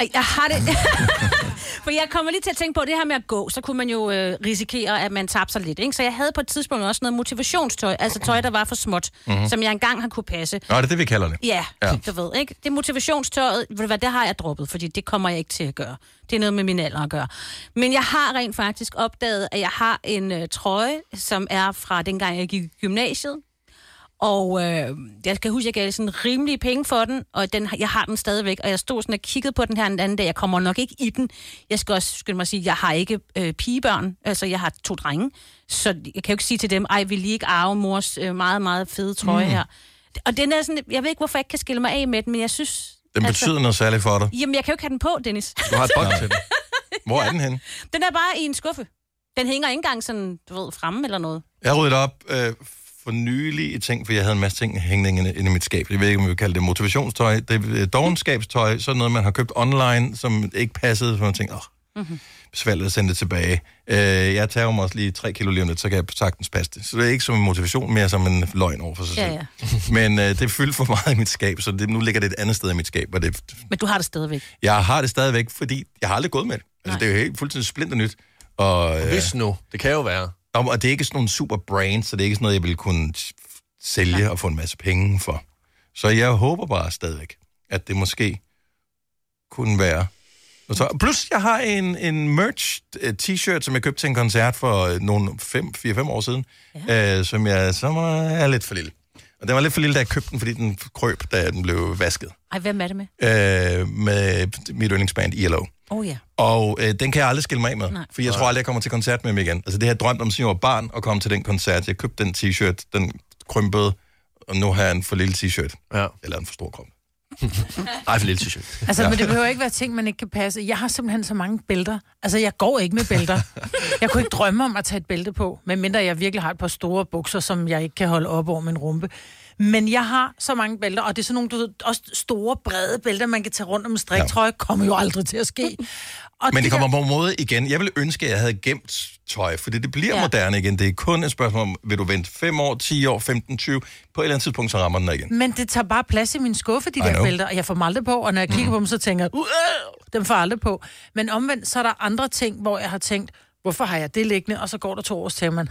Speaker 2: Ej, Jeg har det... For jeg kommer lige til at tænke på, at det her med at gå, så kunne man jo øh, risikere, at man tabte sig lidt. Ikke? Så jeg havde på et tidspunkt også noget motivationstøj, altså tøj, der var for småt, mm-hmm.
Speaker 1: Mhm.
Speaker 2: som jeg engang har kunne passe.
Speaker 1: Nå, det er det, vi kalder det.
Speaker 2: Ja,
Speaker 1: Ja.
Speaker 2: ja, du ved, ikke? Det motivationstøjet, ved du hvad, det har jeg droppet, fordi det kommer jeg ikke til at gøre. Det er noget med min alder at gøre. Men jeg har rent faktisk opdaget, at jeg har en øh, trøje, som er fra dengang, jeg gik i gymnasiet. Og øh, jeg kan huske, jeg gav sådan rimelige penge for den, og den, jeg har den stadigvæk. Og jeg stod sådan og kiggede på den her den anden dag. Jeg kommer nok ikke i den. Jeg skal også skynde mig at sige, jeg har ikke øh, pigebørn. Altså, jeg har to drenge. Så jeg kan jo ikke sige til dem, ej, vil lige ikke arve mors øh, meget, meget fede trøje
Speaker 1: Mm.
Speaker 2: mm. her. Og den er sådan, jeg ved ikke, hvorfor jeg ikke kan skille mig af med den, men jeg synes...
Speaker 3: Altså-
Speaker 2: altså-
Speaker 1: Den betyder noget særligt for dig.
Speaker 2: Jamen, jeg kan jo ikke have den på, Dennis.
Speaker 1: Du har et bånd til den. Hvor er den henne?
Speaker 2: Den er bare i en skuffe. Den hænger ikke engang sådan, du ved, fremme eller noget.
Speaker 1: Jeg ryddede op øh, for nylig i ting, for jeg havde en masse ting hængende inde i mit skab. Jeg ved ikke, om vi vil kalde det motivationstøj. Det er øh, dogenskabstøj, sådan noget, man har købt online, som ikke passede, for man tænkte, åh,
Speaker 2: Mm-hmm.
Speaker 1: besværligt at sende det tilbage. Øh, jeg tager mig også lige 3 kilo lige om lidt, så kan jeg sagtens passe det. Så det er ikke som en motivation, mere som en løgn over for sig selv.
Speaker 2: Ja, ja.
Speaker 1: Men øh, det fyldte for meget i mit skab, så det, nu ligger det et andet sted i mit skab, og det,
Speaker 2: Men du har det stadigvæk.
Speaker 1: jeg har det stadigvæk, fordi jeg har aldrig gået med det. Altså, det er jo helt fuldstændig splinter nyt. Og, øh,
Speaker 4: Hvis nu, det kan jo være.
Speaker 1: Om, og det er ikke sådan nogle super brands, så det er ikke sådan noget, jeg ville kunne s- f- sælge og få en masse penge for. Så jeg håber bare stadigvæk, at det måske kunne være. noget tøj. Plus, jeg har en, en merch øh, t-shirt, som jeg købte til en koncert for øh, nogle 4-5 år siden, ja. øh, som jeg som er er lidt for lille. Og den var lidt for lille, da jeg købte den, fordi den krøb, da den blev vasket.
Speaker 2: Ej, hvem er det med?
Speaker 1: Øh, med mit yndlingsband ILO.
Speaker 2: Åh oh, ja.
Speaker 1: Og øh, den kan jeg aldrig skille mig af med,
Speaker 2: Nej.
Speaker 1: for jeg tror aldrig, jeg kommer til koncert med dem igen. Altså det har jeg drømt om, siden jeg var barn, at komme til den koncert. Jeg købte den t-shirt, den krympede, og nu har jeg en for lille t-shirt.
Speaker 4: Ja.
Speaker 1: Eller en for stor krump.
Speaker 4: Ej, for lille t-shirt.
Speaker 3: Altså, ja. men det behøver ikke være ting, man ikke kan passe. Jeg har simpelthen så mange bælter. Altså, jeg går ikke med bælter. Jeg kunne ikke drømme om at tage et bælte på, medmindre jeg virkelig har et par store bukser, som jeg ikke kan holde op over min rumpe. Men jeg har så mange bælter, og det er sådan nogle, du ved, også store, brede bælter, man kan tage rundt om en striktrøje. Kommer jo aldrig til at ske. Og
Speaker 1: Men
Speaker 3: de
Speaker 1: det kommer
Speaker 3: der-
Speaker 1: på en måde igen. Jeg ville ønske, at jeg havde gemt tøj, for det bliver ja. moderne igen. Det er kun et spørgsmål om, vil du vente 5 år, 10 år, 15, 20? På et eller andet tidspunkt, så rammer den igen.
Speaker 3: Men det tager bare plads i min skuffe, de
Speaker 1: I
Speaker 3: der
Speaker 1: know.
Speaker 3: bælter, og jeg får dem aldrig på, og når jeg kigger på dem, så tænker jeg, "Uh, øh, dem får jeg aldrig på. Men omvendt, så er der andre ting, hvor jeg har tænkt, hvorfor har jeg det liggende, og så går der to år, så tænker man,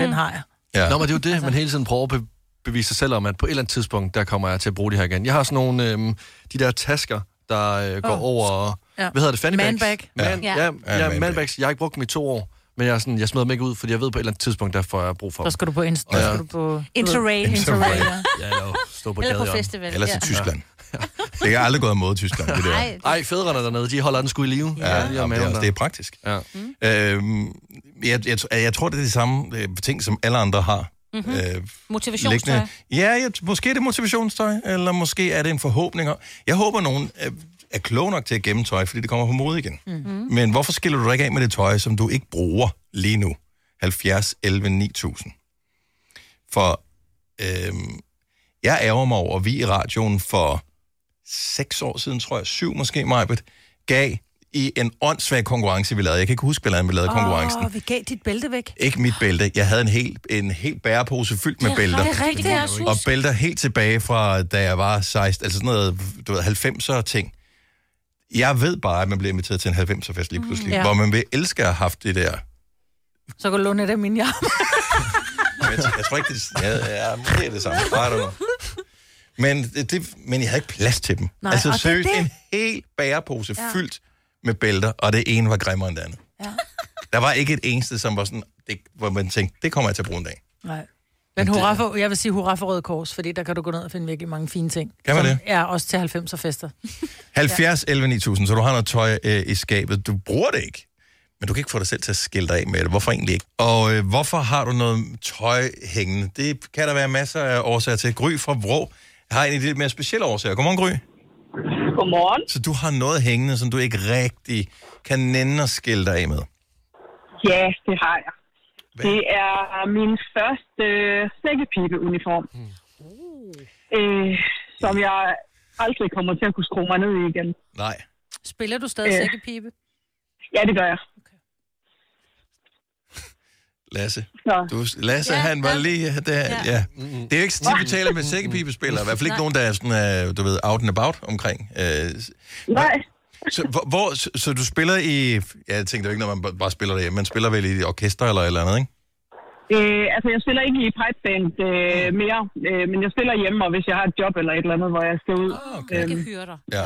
Speaker 3: den har jeg.
Speaker 4: Ja. Nå, men det er jo det, altså. man hele tiden prøver at be- bevise sig selv om, at på et eller andet tidspunkt, der kommer jeg til at bruge det her igen. Jeg har sådan nogle, øhm, de der tasker, der øh, går
Speaker 3: Åh.
Speaker 4: oh. over,
Speaker 3: Ja.
Speaker 4: ja. hvad hedder det, fanny bags?
Speaker 3: Manbag.
Speaker 4: Man,
Speaker 3: Ja.
Speaker 4: ja. Ja,
Speaker 3: Ja,
Speaker 4: ja,
Speaker 3: manbag.
Speaker 4: manbags. Jeg har ikke brugt dem i to år, men jeg, er sådan, jeg smider dem ikke ud, fordi jeg ved på et eller andet tidspunkt, der får jeg brug for dem.
Speaker 3: Der skal du på, inst-
Speaker 4: Og
Speaker 3: der
Speaker 4: jeg-
Speaker 3: skal du på
Speaker 2: Interrail.
Speaker 4: Interrail.
Speaker 3: ja.
Speaker 4: Ja, eller stå på
Speaker 2: Eller på
Speaker 4: gaden.
Speaker 2: festival, Eller til ja.
Speaker 1: Tyskland. Det er aldrig gået imod Tyskland, det der.
Speaker 4: Nej, Ej, fædrene dernede, de holder den sgu i live.
Speaker 1: Ja, ja, ja det, er også, det er praktisk.
Speaker 4: Ja.
Speaker 1: Mm. Øhm, jeg, jeg, jeg tror, det er de samme øh, ting, som alle andre har.
Speaker 2: Mhm.
Speaker 1: Øh,
Speaker 2: Motivationstøj.
Speaker 1: liggende. Ja, ja, måske er det motivationstøj, eller måske er det en forhåbning. om- Jeg håber, nogen er, er klog nok til at gemme tøj, fordi det kommer på mode igen. Mm. Men hvorfor skiller du dig ikke af med det tøj, som du ikke bruger lige nu? 70, 11, 9000. For øhm, jeg ærger mig over, at vi i radioen for seks år siden, tror jeg, syv måske, Majbet, gav i en åndssvag konkurrence, vi lavede. Jeg kan ikke huske, hvordan vi lavede oh. konkurrencen.
Speaker 3: Åh, vi gav dit bælte væk.
Speaker 1: Ikke mit bælte. Jeg havde en hel, en hel bærepose fyldt med
Speaker 3: Det er
Speaker 1: bælter.
Speaker 3: rigtigt, det kan Det kan jeg jeg jo ikke
Speaker 1: Og
Speaker 3: huske.
Speaker 1: bælter helt tilbage fra, da jeg var 16, altså sådan noget, du ved, 90'er ting. Jeg ved bare, at man bliver inviteret til en 90'er fest lige pludselig,
Speaker 3: Mm, Ja.
Speaker 1: ja. hvor man vil elske at have haft det der.
Speaker 3: Så kan du låne et af mine jakker.
Speaker 1: Men Jeg, jeg tror ikke, det er, ja, ja, måske er det samme. Nej, det men, det, det, men jeg havde ikke plads til dem.
Speaker 3: Nej,
Speaker 1: Nej, altså
Speaker 3: og det er
Speaker 1: seriøst,
Speaker 3: det.
Speaker 1: en hel bærepose
Speaker 3: Ja.
Speaker 1: ja. fyldt med bælter, og det ene var grimmere end det andet.
Speaker 3: Ja.
Speaker 1: Der var ikke et eneste, som var sådan, det, hvor man tænkte, det kommer jeg til at bruge en dag.
Speaker 3: Nej. Men hurra for, jeg vil sige hurra for Røde Kors, fordi der kan du gå ned og finde virkelig mange fine ting.
Speaker 1: Kan man
Speaker 3: Som
Speaker 1: det?
Speaker 3: Er også til 90'er fester.
Speaker 1: 70 11 9000, så du har noget tøj øh, i skabet. Du bruger det ikke, men du kan ikke få dig selv til at skille dig af med det. Hvorfor egentlig ikke? Og øh, hvorfor har du noget tøj hængende? Det kan der være masser af årsager til. Gry fra Vrå har en af de lidt mere specielle årsager. Godmorgen, Gry.
Speaker 20: Godmorgen.
Speaker 1: Så du har noget hængende, som du ikke rigtig kan nænde at skille dig af med.
Speaker 20: Ja, det har jeg. Det er min første øh, sækkepibeuniform, mm. øh, som jeg aldrig kommer til at kunne skrue mig ned i igen.
Speaker 1: Nej.
Speaker 3: Spiller du stadig
Speaker 20: Øh.
Speaker 3: sækkepibe?
Speaker 20: Ja, det gør jeg.
Speaker 1: Lasse.
Speaker 20: Nå.
Speaker 1: Du, Lasse, ja, han var lige der. Ja. ja. Det er jo ikke så tit, vi taler med sækkepibespillere. I hvert fald ikke
Speaker 20: Nej.
Speaker 1: nogen, der er sådan, øh, du ved, out and about omkring. Øh,
Speaker 20: Nej.
Speaker 1: Så, hvor, hvor, så, så du spiller i... Ja, jeg tænkte jo ikke, når man b- bare spiller derhjemme. Man spiller vel i et orkester eller et eller andet, ikke?
Speaker 20: Øh, altså, jeg spiller ikke i pipeband øh, mere, øh, men jeg spiller hjemme, og hvis jeg har et job eller et eller andet, hvor jeg skal ud. Oh, okay. øhm,
Speaker 2: Hyrder.
Speaker 1: Ja.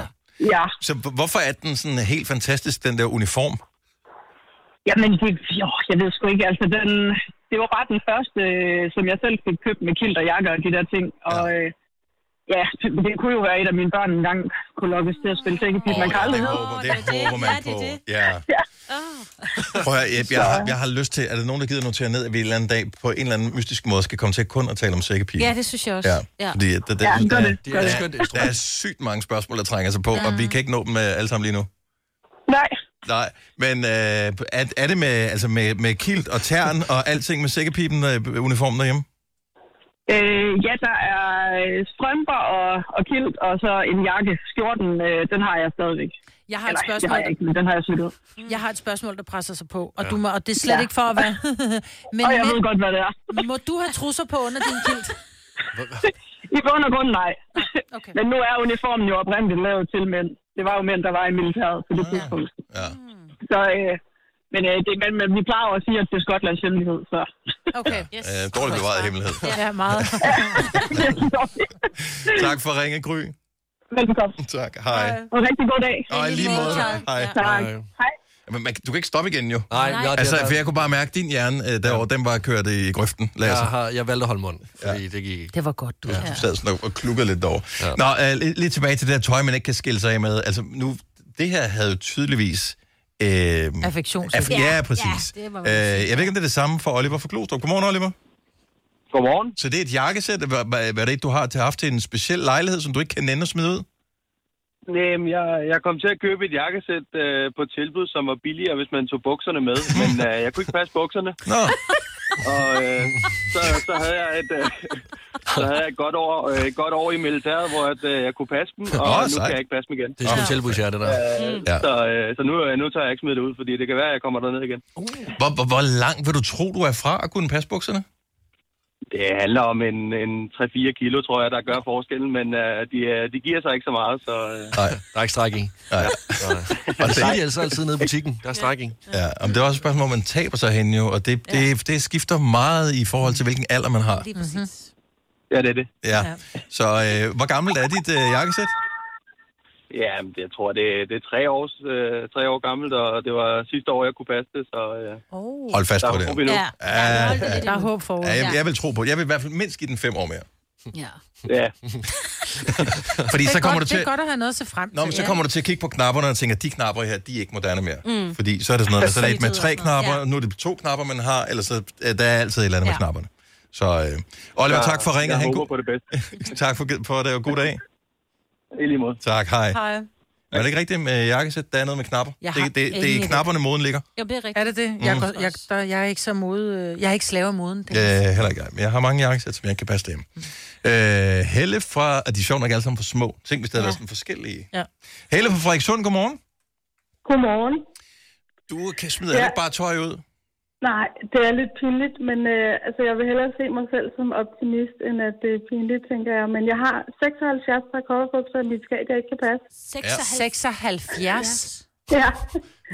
Speaker 20: ja.
Speaker 1: Så h- hvorfor er den sådan helt fantastisk, den der uniform?
Speaker 20: Jamen, det, jo, jeg ved sgu ikke. Altså, den, det var bare den første, øh, som jeg selv fik købt med kilt og jakker og de der ting. Og ja, øh, ja det kunne jo være, at et af mine børn engang kunne lokkes til at spille sækkepip. Oh, man kan aldrig
Speaker 1: det
Speaker 20: vide.
Speaker 1: håber, det håber man
Speaker 20: det er
Speaker 1: på.
Speaker 20: det.
Speaker 1: Ja. Ah. Prøv at, høre, jeg, jeg, har, jeg har lyst til... Er der nogen, der gider notere ned, at vi en eller anden dag på en eller anden mystisk måde skal komme til kun at tale om sækkepiger?
Speaker 2: Ja, det synes jeg også.
Speaker 1: Ja,
Speaker 2: Ja.
Speaker 1: ja. fordi at der, der,
Speaker 2: Ja, gør
Speaker 1: der,
Speaker 2: det.
Speaker 1: der,
Speaker 2: Gør det.
Speaker 1: der, der, der er sygt mange spørgsmål, der trænger sig på, ja. og vi kan ikke nå dem øh, alle sammen lige nu.
Speaker 20: Nej.
Speaker 1: Nej, men øh, er, er det med, altså med, med kilt og tern og alting med sækkepipen øh, uniformen derhjemme?
Speaker 20: Øh, ja, der er øh, strømper og, og kilt, og så en jakke. Skjorten, øh, den har jeg stadigvæk.
Speaker 3: Jeg har et
Speaker 20: Eller,
Speaker 3: spørgsmål.
Speaker 20: Det har jeg ikke, men den har jeg sygt ud.
Speaker 3: Jeg har et spørgsmål, der presser sig på, og,
Speaker 20: Ja.
Speaker 3: du må, og det er slet
Speaker 20: Ja.
Speaker 3: ikke for at være... men,
Speaker 20: Og jeg ved godt, hvad det
Speaker 3: er. må du have trusser på under din kilt?
Speaker 20: I bund og grund nej. Okay. Men nu er uniformen jo oprindeligt lavet til mænd. Det var jo mænd, der var i militæret på det tidspunkt.
Speaker 1: Ja.
Speaker 20: Så, øh, men, øh, det, men, men vi plejer jo at sige, at det er Skotlands hemmelighed, så...
Speaker 3: Okay.
Speaker 1: Yes. Øh, dårligt bevaret hemmelighed.
Speaker 3: Ja, meget.
Speaker 1: tak for at ringe, Gry.
Speaker 20: Velbekomme.
Speaker 1: Tak, hej. hej.
Speaker 20: Og rigtig god dag.
Speaker 1: Og i lige måde. Hej.
Speaker 20: Tak. Hej.
Speaker 1: Men man, du kan ikke stoppe igen, jo.
Speaker 4: Nej, nej.
Speaker 1: Altså,
Speaker 4: det er-
Speaker 1: for jeg kunne bare mærke, at din hjerne øh, derovre, den var kørt i grøften, Lasse.
Speaker 4: Jeg, har, jeg valgte at holde mund, fordi ja. det gik ikke.
Speaker 3: Det var godt, du.
Speaker 1: Ja. Du sad sådan og- og klukkede lidt over. Ja. Nå, øh, lidt, lidt tilbage til det der tøj, man ikke kan skille sig af med. Altså, nu, det her havde jo tydeligvis... Øh,
Speaker 3: Affektions.
Speaker 1: aff- ja, præcis.
Speaker 3: Ja, det må
Speaker 1: øh,
Speaker 3: man sige.
Speaker 1: jeg ved ikke, om det er det samme for Oliver fra Klostrup. Godmorgen, Oliver. Godmorgen. Så det er et jakkesæt. Hvad, hvad, hvad er det, du har til haft til en speciel lejlighed, som du ikke kan nænde at smide ud?
Speaker 21: Nej, men jeg, jeg kom til at købe et jakkesæt øh, på tilbud, som var billigere, hvis man tog bukserne med. Men øh, jeg kunne ikke passe bukserne.
Speaker 1: Nå.
Speaker 21: Og øh, så, så, havde jeg et, øh, så havde jeg et godt år, øh, et godt år i militæret, hvor at, øh, jeg kunne passe dem, og
Speaker 4: Åh,
Speaker 21: oh, nu
Speaker 4: sejt.
Speaker 21: kan jeg ikke passe dem igen.
Speaker 4: Det er sgu tilbud, ja, det der.
Speaker 21: Øh,
Speaker 4: Ja.
Speaker 21: Så, øh, så nu, øh, nu tager jeg ikke smidt det ud, fordi det kan være, at jeg kommer derned igen.
Speaker 1: Hvor, hvor, hvor langt vil du tro, du er fra at kunne passe bukserne?
Speaker 21: Det handler om en, en 3-4 kilo, tror jeg, der gør forskellen, men øh, de, øh, de giver sig ikke så meget. Så, øh.
Speaker 1: Nej, der er ikke strækking. Nej.
Speaker 4: Og det er de altså altid nede i butikken. Der er strækking.
Speaker 1: Ja, men det er også et spørgsmål, hvor man taber sig hen jo, og det, det, det skifter meget i forhold til, hvilken alder man har.
Speaker 2: Lige præcis.
Speaker 21: Ja, det er det.
Speaker 1: Ja. Så øh, hvor gammelt er dit øh, jakkesæt?
Speaker 21: Ja, men det, jeg tror, det, det er tre, års, øh, tre år gammelt, og det var sidste år, jeg kunne passe det, så... Øh,
Speaker 1: Oh. Hold fast
Speaker 21: der
Speaker 1: på
Speaker 21: er
Speaker 1: det.
Speaker 21: håb endnu.
Speaker 1: Ja. Ja, hold det lidt
Speaker 3: Der er håb for
Speaker 1: Ja, jeg, jeg vil tro på Jeg vil i hvert fald mindst give den fem år mere.
Speaker 2: Ja.
Speaker 21: Ja.
Speaker 1: Fordi
Speaker 3: det
Speaker 1: så
Speaker 3: er
Speaker 1: kommer
Speaker 3: godt,
Speaker 1: du til...
Speaker 3: Det er godt at have noget at se frem til.
Speaker 1: Nå, men så
Speaker 3: ja.
Speaker 1: kommer du til at kigge på knapperne og tænker, at de knapper her, de er ikke moderne mere.
Speaker 3: Mm.
Speaker 1: Fordi så er det sådan noget, så er der et med
Speaker 3: Slidt
Speaker 1: tre
Speaker 3: og sådan noget.
Speaker 1: knapper,
Speaker 3: Ja.
Speaker 1: og nu er det to knapper, man har, eller så øh, der er altid et eller andet ja. med
Speaker 3: Ja.
Speaker 1: knapperne. Så øh, Oliver,
Speaker 21: Så
Speaker 1: tak for ringet.
Speaker 21: Jeg
Speaker 1: Ha' en
Speaker 21: håber
Speaker 1: god-
Speaker 21: på det bedste.
Speaker 1: tak for, for det, og god dag.
Speaker 21: I lige måde.
Speaker 1: Tak, hej.
Speaker 3: Hej.
Speaker 1: Men er det ikke rigtigt med jakkesæt? Der er noget med knapper.
Speaker 3: Jeg har
Speaker 1: det, det, det,
Speaker 3: ingen
Speaker 1: er i
Speaker 3: idé.
Speaker 1: knapperne, moden ligger.
Speaker 2: Jo, det er rigtigt.
Speaker 3: Er det det?
Speaker 1: Mm.
Speaker 3: Jeg, går, jeg, der, jeg er ikke så mode... øh, Jeg er Mm. ikke slave af moden. Det.
Speaker 1: Øh, heller ikke. Men jeg har mange jakkesæt, som jeg ikke kan passe dem. Øh, Helle fra... Og de er sjovt nok alle sammen for små. Tænk, hvis der ja. er sådan forskellige.
Speaker 3: Ja.
Speaker 1: Helle fra Frederikssund, godmorgen.
Speaker 22: Godmorgen.
Speaker 1: Du kan smide ja.
Speaker 22: Ja.
Speaker 1: ikke bare tøj ud.
Speaker 22: Nej, det er lidt pinligt, men øh, altså, jeg vil hellere se mig selv som optimist, end at det er pinligt, tænker jeg. Men jeg har 76 par kofferbukser i mit skab, jeg ikke kan passe.
Speaker 3: 76?
Speaker 22: Ja.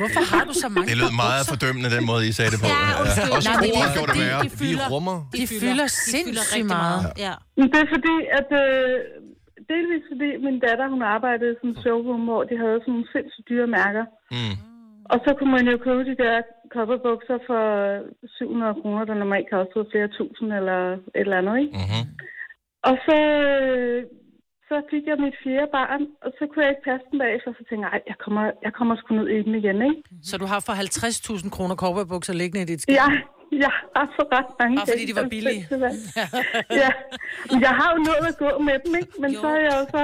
Speaker 3: Hvorfor har du så mange
Speaker 1: Det lød meget fordømmende, den måde, I sagde det på. Ja,
Speaker 22: undskyld.
Speaker 1: Også
Speaker 22: Nej, men det er
Speaker 1: ordene gjorde det
Speaker 22: fordi,
Speaker 1: værre.
Speaker 22: de fylder-
Speaker 1: Vi rummer.
Speaker 3: De fylder sindssygt meget.
Speaker 2: Ja.
Speaker 22: Men Det er fordi, at øh, delvis fordi min datter, hun arbejdede som
Speaker 3: Mm.
Speaker 22: showroom, hvor de havde sådan nogle sindssygt dyre mærker.
Speaker 1: Mm.
Speaker 22: Og så kunne man jo købe de der kopperbukser for 700 kroner, der normalt kostede flere tusind eller et eller andet, ikke?
Speaker 1: Mm-hmm.
Speaker 22: Og så, øh, så fik jeg mit fjerde barn, og så kunne jeg ikke passe den bagefter, så tænkte jeg, "Ej, jeg kommer, jeg kommer sgu ned i den igen, ikke?
Speaker 3: Så du har for 50.000 kroner korporbukser liggende i dit skab?
Speaker 22: Ja, jeg har så ret mange
Speaker 3: Bare fordi
Speaker 22: ting,
Speaker 3: de var
Speaker 22: som
Speaker 3: billige.
Speaker 22: festival. ja, men jeg har jo nået at gå med dem, ikke? Men jo. så er jeg jo så,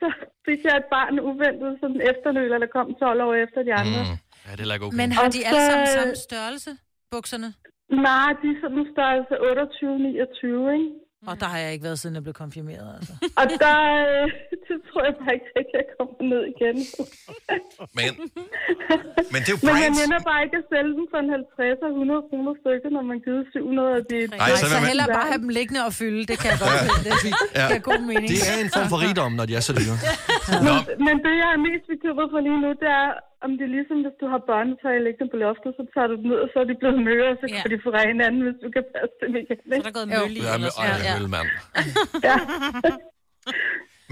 Speaker 22: så fik jeg et barn uventet, som den efternøler, der kom 12 år efter de andre. Mm.
Speaker 4: Ja, det er heller ikke okay.
Speaker 3: Men har
Speaker 22: Og
Speaker 3: de alle sammen
Speaker 22: så-
Speaker 3: samme størrelse, bukserne?
Speaker 22: Nej, de er sådan størrelse 28-29, ikke?
Speaker 3: Og der har jeg ikke været, siden jeg blev konfirmeret, altså.
Speaker 22: Og der, øh, det tror jeg bare ikke, at jeg kommer ned igen.
Speaker 1: Men, men det er jo
Speaker 22: Men man
Speaker 1: brands.
Speaker 22: ender bare ikke at sælge dem for en 50 og 100 kroner stykke, når man giver 700 af de...
Speaker 1: Nej,
Speaker 3: Så,
Speaker 1: så
Speaker 3: så
Speaker 1: vil man-
Speaker 3: hellere bare have dem liggende og fylde, det kan jeg godt lide. Det, det
Speaker 4: Ja.
Speaker 3: giver god mening.
Speaker 4: Det er en form for rigdom, når de er så dyre.
Speaker 22: Men, men det, jeg er mest bekymret for lige nu, det er, om det er ligesom, hvis du har børnetøj liggende på loftet, så tager du dem ned, og så er de blevet møre, og så kan de få ren anden, hvis du kan passe dem igen. Så er
Speaker 2: der gået
Speaker 22: mølle
Speaker 4: Ja, men, ej, ja. mand.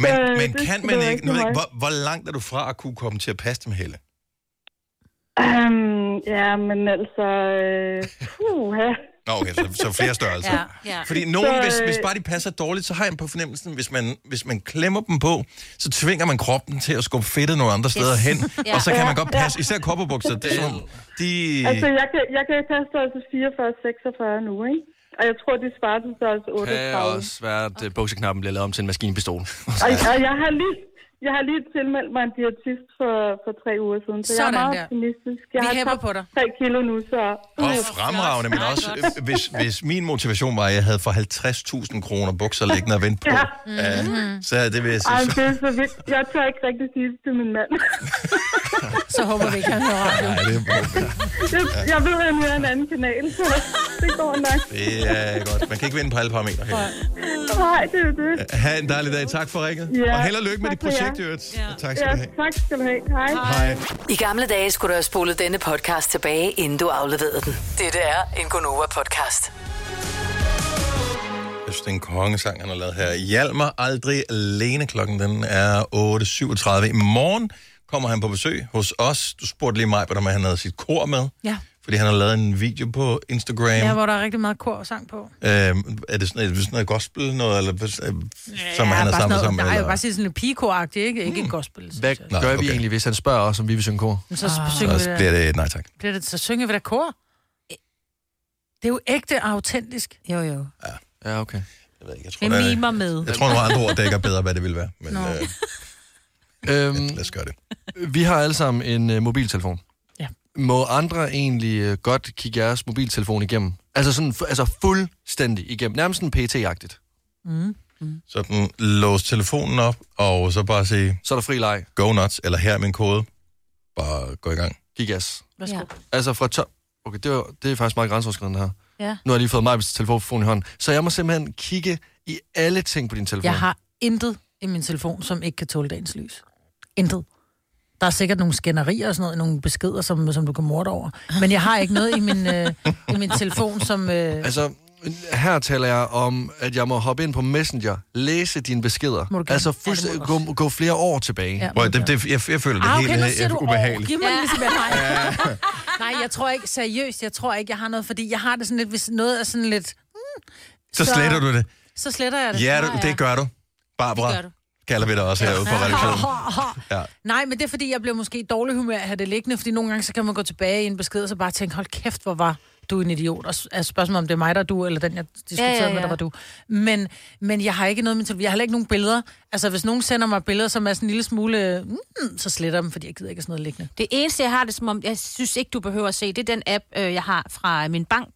Speaker 1: Men,
Speaker 22: Øh,
Speaker 1: men
Speaker 22: det
Speaker 1: kan
Speaker 22: skal
Speaker 1: man
Speaker 22: være
Speaker 1: ikke...
Speaker 22: rigtig
Speaker 1: Nu ved jeg
Speaker 22: meget.
Speaker 1: ikke hvor, hvor langt er du fra at kunne komme til at passe dem, Helle?
Speaker 22: Øhm, ja, men altså... Øh, puha.
Speaker 1: Nå, okay, så, så flere størrelser.
Speaker 22: Ja, ja.
Speaker 1: Fordi nogen,
Speaker 22: Så,
Speaker 1: hvis,
Speaker 22: øh,
Speaker 1: hvis bare de passer dårligt, så har jeg dem på fornemmelsen, hvis man, hvis man klemmer dem på, så tvinger man kroppen til at skubbe fedtet nogle andre steder
Speaker 22: Yes.
Speaker 1: hen,
Speaker 22: Ja.
Speaker 1: og så kan man
Speaker 22: Ja,
Speaker 1: godt
Speaker 22: ja.
Speaker 1: passe, især kopperbukser, det er sådan, de...
Speaker 22: Altså, jeg kan, jeg kan passe størrelse 44-46 nu, ikke? Og jeg tror, de sparer til størrelse
Speaker 4: Kan
Speaker 22: 38.
Speaker 4: også være, at øh, bukseknappen bliver lavet om til en maskinpistol.
Speaker 22: Og, og jeg har lige... Jeg har lige tilmeldt mig en diætist for, for tre uger siden, så jeg
Speaker 3: Sådan
Speaker 22: er meget
Speaker 3: der.
Speaker 22: optimistisk. Jeg
Speaker 3: Vi
Speaker 22: har
Speaker 3: hæpper
Speaker 22: tabt tre kilo nu, så...
Speaker 1: Og fremragende, men også, øh, hvis, hvis min motivation var, at jeg havde for 50.000 kroner bukser liggende og vente på,
Speaker 22: Ja.
Speaker 1: ja.
Speaker 22: Mhm.
Speaker 1: så det vil jeg
Speaker 22: Ej,
Speaker 1: sige,
Speaker 22: men
Speaker 1: så-
Speaker 22: det er så vildt. Jeg tør ikke rigtig sige det til min mand.
Speaker 3: Så håber vi ikke, han hører radio.
Speaker 1: Nej, det er
Speaker 22: Jeg, jeg ved, at han hører en anden kanal, så det går nok.
Speaker 1: Det er godt. Man kan ikke vinde på alle parametre. Helle.
Speaker 22: Nej, det er jo det.
Speaker 1: Ha' en dejlig dag. Tak for ringet.
Speaker 22: Ja,
Speaker 1: og held og lykke med
Speaker 22: tak
Speaker 1: dit
Speaker 22: for jer.
Speaker 1: projekt, i øvrigt.
Speaker 22: Ja.
Speaker 1: Tak skal du have.
Speaker 22: Tak skal du have. Hej.
Speaker 1: Hej.
Speaker 6: I gamle dage skulle du have spolet denne podcast tilbage, inden du afleverede den. Dette er en Gonova-podcast.
Speaker 1: Jeg synes, det er en kongesang, han har lavet her. Hjalmar aldrig alene. Klokken den er 8.37. I morgen kommer han på besøg hos os. Du spurgte lige mig, om han havde sit kor med.
Speaker 3: Ja.
Speaker 1: Fordi han har lavet en video på Instagram.
Speaker 3: ja, hvor der er rigtig meget kor og sang på.
Speaker 1: Øhm, er det sådan, er det sådan noget gospel noget, eller, øh, som Hmm.
Speaker 3: ja,
Speaker 1: han er
Speaker 3: bare
Speaker 1: sammen
Speaker 3: sådan
Speaker 1: sammen
Speaker 3: Nej,
Speaker 1: med?
Speaker 3: jeg
Speaker 1: eller?
Speaker 3: vil bare sige sådan lidt pigekor-agtigt, ikke? Ikke et gospel.
Speaker 4: Hvad
Speaker 1: Nå,
Speaker 4: gør vi
Speaker 1: okay.
Speaker 4: egentlig, hvis han spørger os, om vi vil synge kor?
Speaker 3: Men så Ah. synger vi
Speaker 1: Ah. Så
Speaker 3: da-
Speaker 1: bliver det et nej tak.
Speaker 3: Bliver det, så synger vi da kor. Det er jo ægte og autentisk. Jo, jo.
Speaker 4: Ja, okay.
Speaker 1: Jeg ved ikke, jeg tror,
Speaker 2: Det
Speaker 1: der er-
Speaker 2: mimer med.
Speaker 1: Jeg tror, der var andre ord, der ikke er bedre, hvad det ville være. Men
Speaker 2: Nå.
Speaker 1: øh,
Speaker 4: Øhm,
Speaker 1: lad os gøre det.
Speaker 4: vi har alle sammen en øh, mobiltelefon.
Speaker 3: Ja.
Speaker 4: Må andre egentlig øh, godt kigge jeres mobiltelefon igennem? Altså sådan, fu- altså fuldstændig igennem. Nærmest sådan PT-agtigt.
Speaker 3: Mm.
Speaker 1: Sådan, lås telefonen op, og så bare sige...
Speaker 4: Så er der fri leg.
Speaker 1: Go nuts, eller her er min kode. Bare gå i gang.
Speaker 4: Giv gas.
Speaker 3: Værsgo. Ja.
Speaker 4: Altså fra top... Okay, det er, det er faktisk meget grænseoverskridende her.
Speaker 3: Ja.
Speaker 4: Nu har jeg lige fået mig telefon i hånden. Så jeg må simpelthen kigge i alle ting på din telefon.
Speaker 3: Jeg har intet i min telefon, som ikke kan tåle dagens lys. Intet. Der er sikkert nogle skænderier og sådan noget, nogle beskeder, som, som du kan morde over. Men jeg har ikke noget i min, øh, i min telefon, som... Øh,
Speaker 4: Altså, her taler jeg om, at jeg må hoppe ind på Messenger, læse dine beskeder.
Speaker 3: Må du gerne.
Speaker 4: Altså, fuldst-
Speaker 3: Ja, det må du
Speaker 4: gå, gå flere år tilbage.
Speaker 3: Ja, Prøv, må du det-
Speaker 1: det, jeg, jeg føler øh,
Speaker 3: Ah, okay, nu siger du år. Giv mig
Speaker 2: Ja.
Speaker 3: ja. ligesom, jeg har. Nej, jeg tror ikke, seriøst, jeg tror ikke, jeg har noget, fordi jeg har det sådan lidt, hvis noget er sådan lidt... Mm,
Speaker 1: Så sletter du det.
Speaker 3: Så sletter jeg det.
Speaker 1: Ja, det, det gør du. Barbara,
Speaker 3: Det gør du.
Speaker 1: kalder vi dig også herude på redaktionen. Ja.
Speaker 3: Nej, men det er fordi, jeg blev måske i dårlig humør at have det liggende, fordi nogle gange så kan man gå tilbage i en besked og så bare tænke, hold kæft, hvor var du en idiot. Og s- er spørgsmålet, om det er mig, der er du, eller den, jeg diskuterede
Speaker 2: Ja,
Speaker 3: ja, ja,
Speaker 2: ja, ja.
Speaker 3: med, der var du. Men, men jeg har ikke noget med til. Jeg har heller ikke nogen billeder. Altså, hvis nogen sender mig billeder, som er sådan en lille smule, øh, mm, så sletter jeg dem, fordi jeg gider ikke have sådan noget liggende.
Speaker 2: Det eneste, jeg har det som om, jeg synes ikke, du behøver at se, det er den app, øh, jeg har fra min bank.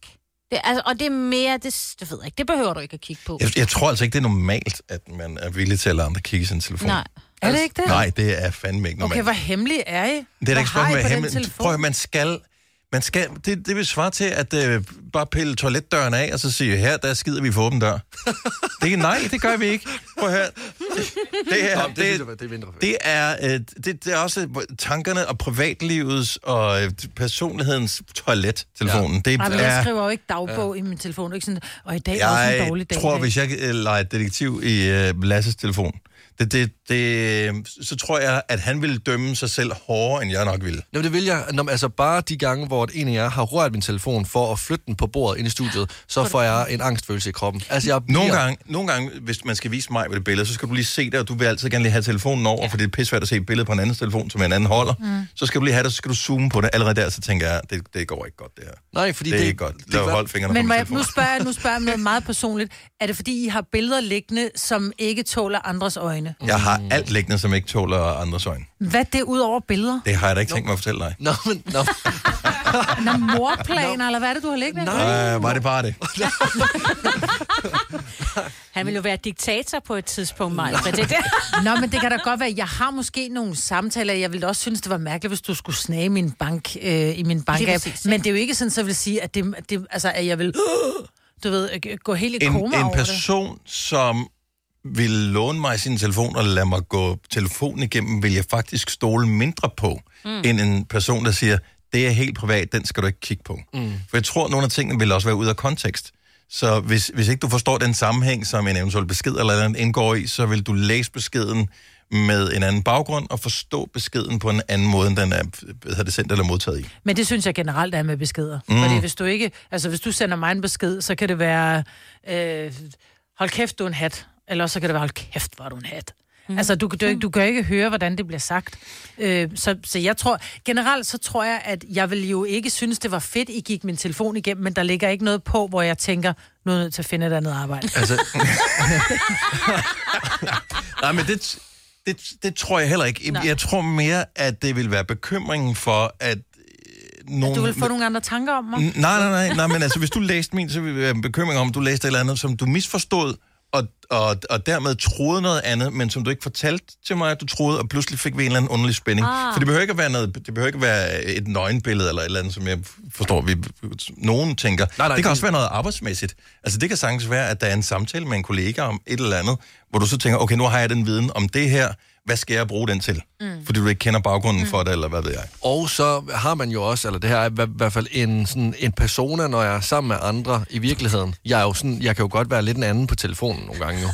Speaker 2: Det, altså, og det er mere, det, det ved jeg ikke, det behøver du ikke at kigge på.
Speaker 1: Jeg, jeg tror altså ikke, det er normalt, at man er villig til at lade andre kigge i sin telefon.
Speaker 2: Nej.
Speaker 3: Er det ikke det?
Speaker 1: Nej, det er fandme ikke normalt.
Speaker 3: Okay, hvor hemmelig er I?
Speaker 1: Det er da
Speaker 3: Hvad
Speaker 1: ikke
Speaker 3: har I på
Speaker 1: spørgsmål,
Speaker 3: den
Speaker 1: hvad hemmel...
Speaker 3: telefon?
Speaker 1: Prøv at man skal... Man skal det, det vil svare til, at øh, bare pille toiletdøren af, og så sige, her, der skider vi for åben dør. det er nej, det gør vi ikke. Prøv at høre. Det her,
Speaker 4: Nå, det, synes jeg,
Speaker 1: det,
Speaker 4: det er mindre fedt.
Speaker 1: det er, øh, det, det er også tankerne og privatlivets og øh, personlighedens toilet, telefonen. Ja. Det
Speaker 3: Ej, men
Speaker 1: er,
Speaker 3: jeg skriver jo ikke dagbog ja. i min telefon. Det er Ikke sådan, og i dag er også en
Speaker 1: jeg
Speaker 3: dårlig dag.
Speaker 1: tror,
Speaker 3: i dag.
Speaker 1: hvis jeg øh, leger detektiv i øh, Lasses telefon, det, det, det, så tror jeg, at han ville dømme sig selv hårdere, end jeg nok ville.
Speaker 4: Nå, men det vil jeg. Nå, men altså bare de gange, hvor en af jer har rørt min telefon for at flytte den på bordet ind i
Speaker 3: Ah,
Speaker 4: studiet, så får jeg en angstfølelse i kroppen. Altså, jeg
Speaker 1: Nogle,
Speaker 4: bliver-
Speaker 1: gange, nogle gange, hvis man skal vise mig ved det billede, så skal du lige se det, og du vil altid gerne lige have telefonen over, ja. for det er pissvært at se et billede på en andens telefon, som en anden holder. Mm.
Speaker 4: Mm.
Speaker 1: Så skal du lige have det, så skal du zoome på det. Allerede der, så tænker jeg, det, det går ikke godt, det her.
Speaker 4: Nej, fordi
Speaker 1: det... er
Speaker 4: det-
Speaker 1: ikke godt.
Speaker 4: det er
Speaker 1: Lad
Speaker 4: klart.
Speaker 1: hold fingrene
Speaker 3: Men
Speaker 1: på
Speaker 3: må
Speaker 1: min
Speaker 3: jeg,
Speaker 1: telefon.
Speaker 3: nu spørger jeg, nu spørger jeg om noget meget personligt. Er det fordi, I har billeder liggende, som ikke tåler andres øjne?
Speaker 1: Jeg har alt liggende, som ikke tåler andres øjne.
Speaker 3: Hvad er det ud over billeder?
Speaker 1: Det har jeg da ikke tænkt mig at fortælle dig.
Speaker 4: Nå, men... Nå.
Speaker 3: Nå, morplaner, eller hvad er det, du har liggende?
Speaker 1: Øh, var det bare det?
Speaker 2: Han ville jo være diktator på et tidspunkt, Maja. Det, det.
Speaker 3: Nå, men det kan da godt være. Jeg har måske nogle samtaler. Jeg ville da også synes, det var mærkeligt, hvis du skulle snage min bank, øh, i min bank
Speaker 2: præcis,
Speaker 3: Men det er jo ikke sådan, så jeg vil sige, at, det, det, altså, at jeg vil... Du ved, øh, gå helt i
Speaker 1: en,
Speaker 3: koma
Speaker 1: en
Speaker 3: over det.
Speaker 1: person, som ville låne mig sin telefon og lade mig gå telefonen igennem, vil jeg faktisk stole mindre på, mm.
Speaker 4: Mm.
Speaker 1: end en person, der siger, det er helt privat, den skal du ikke kigge på. Mm. For jeg tror, at nogle af tingene vil også være ude af kontekst. Så hvis, hvis ikke du forstår den sammenhæng, som en eventuel besked eller andet indgår i, så vil du læse beskeden med en anden baggrund og forstå beskeden på en anden måde, end den er hvad hedder det sendt eller modtaget i.
Speaker 3: Men det synes jeg generelt er med beskeder.
Speaker 1: Mm.
Speaker 3: Mm. Fordi hvis du ikke, altså hvis du sender mig en besked, så kan det være, øh, hold kæft, du er en hat. Eller så kan det være, hold kæft, hvor er du en hat. Mm. Altså, du, kan- du, kan- du kan ikke høre, hvordan det bliver sagt. Øh, så, så jeg tror, generelt så tror jeg, at jeg vil jo ikke synes, det var fedt, I gik min telefon igennem, men der ligger ikke noget på, hvor jeg tænker, nu er jeg nødt til at finde et andet arbejde.
Speaker 4: Altså,
Speaker 1: Nej, men det, det, det tror jeg heller ikke.
Speaker 3: Nej.
Speaker 1: Jeg tror mere, at det vil være bekymringen for, at øh, nogen...
Speaker 3: Du vil få nogle andre tanker om mig?
Speaker 1: N- Nej, nej, nej, nej, men altså, hvis du læste min, så ville det være en bekymring om, at du læste et eller andet, som du misforstod, og, og, og dermed troede noget andet, men som du ikke fortalte til mig, at du troede, og pludselig fik vi en eller anden underlig spænding.
Speaker 4: Ah.
Speaker 1: For det behøver ikke at være, noget, det behøver ikke at være et nøgenbillede eller et eller andet, som jeg forstår, vi, nogen tænker. Nej, nej, det kan
Speaker 4: det-
Speaker 1: også være noget arbejdsmæssigt. Altså, det kan sagtens være, at der er en samtale med en kollega om et eller andet, hvor du så tænker, okay, nu har jeg den viden om det her, hvad skal jeg bruge den til? Mm. Fordi du ikke kender baggrunden mm. for det, eller hvad ved jeg.
Speaker 4: Og så har man jo også, eller det her er i hver- hvert fald en, sådan en persona, når jeg er sammen med andre i virkeligheden. Jeg, er jo sådan, jeg kan jo godt være lidt en anden på telefonen nogle gange jo.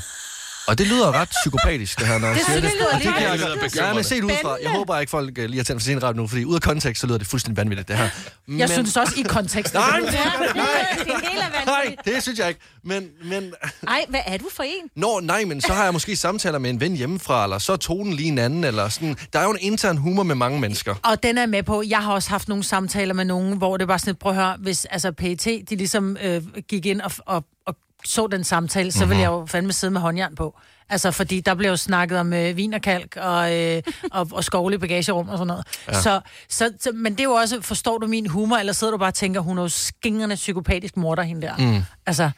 Speaker 4: Og det lyder ret psykopatisk, det her, når jeg
Speaker 3: Det
Speaker 4: siger det.
Speaker 3: synes jeg lyder
Speaker 4: Og det
Speaker 3: lidt-
Speaker 4: kan jeg,
Speaker 3: det lyder
Speaker 4: jeg er
Speaker 3: bekymrende.
Speaker 4: med set ud fra. Jeg
Speaker 3: Spændende.
Speaker 4: håber ikke, folk øh, lige har tændt for sin ret nu, fordi ud af kontekst, så lyder det fuldstændig vanvittigt, det her. Men...
Speaker 3: Jeg synes også, i kontekst.
Speaker 4: Nej,
Speaker 3: det
Speaker 4: nej,
Speaker 2: Det hele er
Speaker 4: nej,
Speaker 2: vanvittigt.
Speaker 4: det synes jeg ikke. Men, men
Speaker 2: Ej, hvad er du for en?
Speaker 4: Nå, nej, men så har jeg måske samtaler med en ven hjemmefra, eller så er tonen lige en anden, eller sådan. Der er jo en intern humor med mange mennesker.
Speaker 3: Og den er jeg med på. Jeg har også haft nogle E samtaler med nogen, hvor det var sådan et, prøv at høre, hvis altså PET, de ligesom øh, gik ind og, og, og så den samtale, så mm-hmm.
Speaker 5: Mhm.
Speaker 3: ville jeg jo fandme sidde med håndjern på. Altså, fordi der blev jo snakket om øh, vin og kalk og, øh, og, og skovle i bagagerum og sådan noget.
Speaker 5: Ja.
Speaker 3: Ja. Så, så, så, men det er jo også, forstår du min humor, eller sidder du bare og tænker, hun er jo skingrende psykopatisk morder, hende der.
Speaker 5: Mm.
Speaker 3: Altså,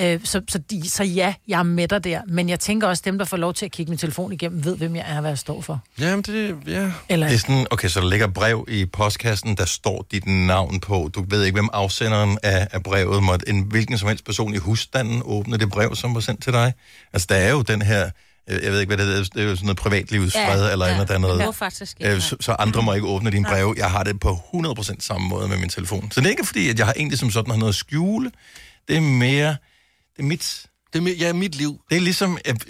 Speaker 3: øh, så, så, de, så ja, jeg er med dig der. Men jeg tænker også, dem, der får lov til at kigge min telefon igennem, ved, hvem jeg er og hvad jeg står for.
Speaker 4: Jamen, det... Ja.
Speaker 3: Eller-
Speaker 1: Det er sådan, okay, så der ligger brev i postkassen, der står dit navn på. Du ved ikke, hvem afsenderen af, af brevet måtte. En hvilken som helst person i husstanden åbne det brev, som var sendt til dig. Altså, der er jo den her, øh, jeg ved ikke, hvad det hedder, det er jo sådan noget privatlivsfred ja, eller ja, andet der er
Speaker 2: Det må
Speaker 1: noget.
Speaker 2: faktisk ikke.
Speaker 1: Øh, så, så andre må ikke åbne dine breve. Jeg har det på 100% samme måde med min telefon. Så det er ikke fordi, at jeg har egentlig som sådan har noget at skjule. Det er mere... Det er mit...
Speaker 4: Det er, ja, mit liv.
Speaker 1: Det er ligesom... At,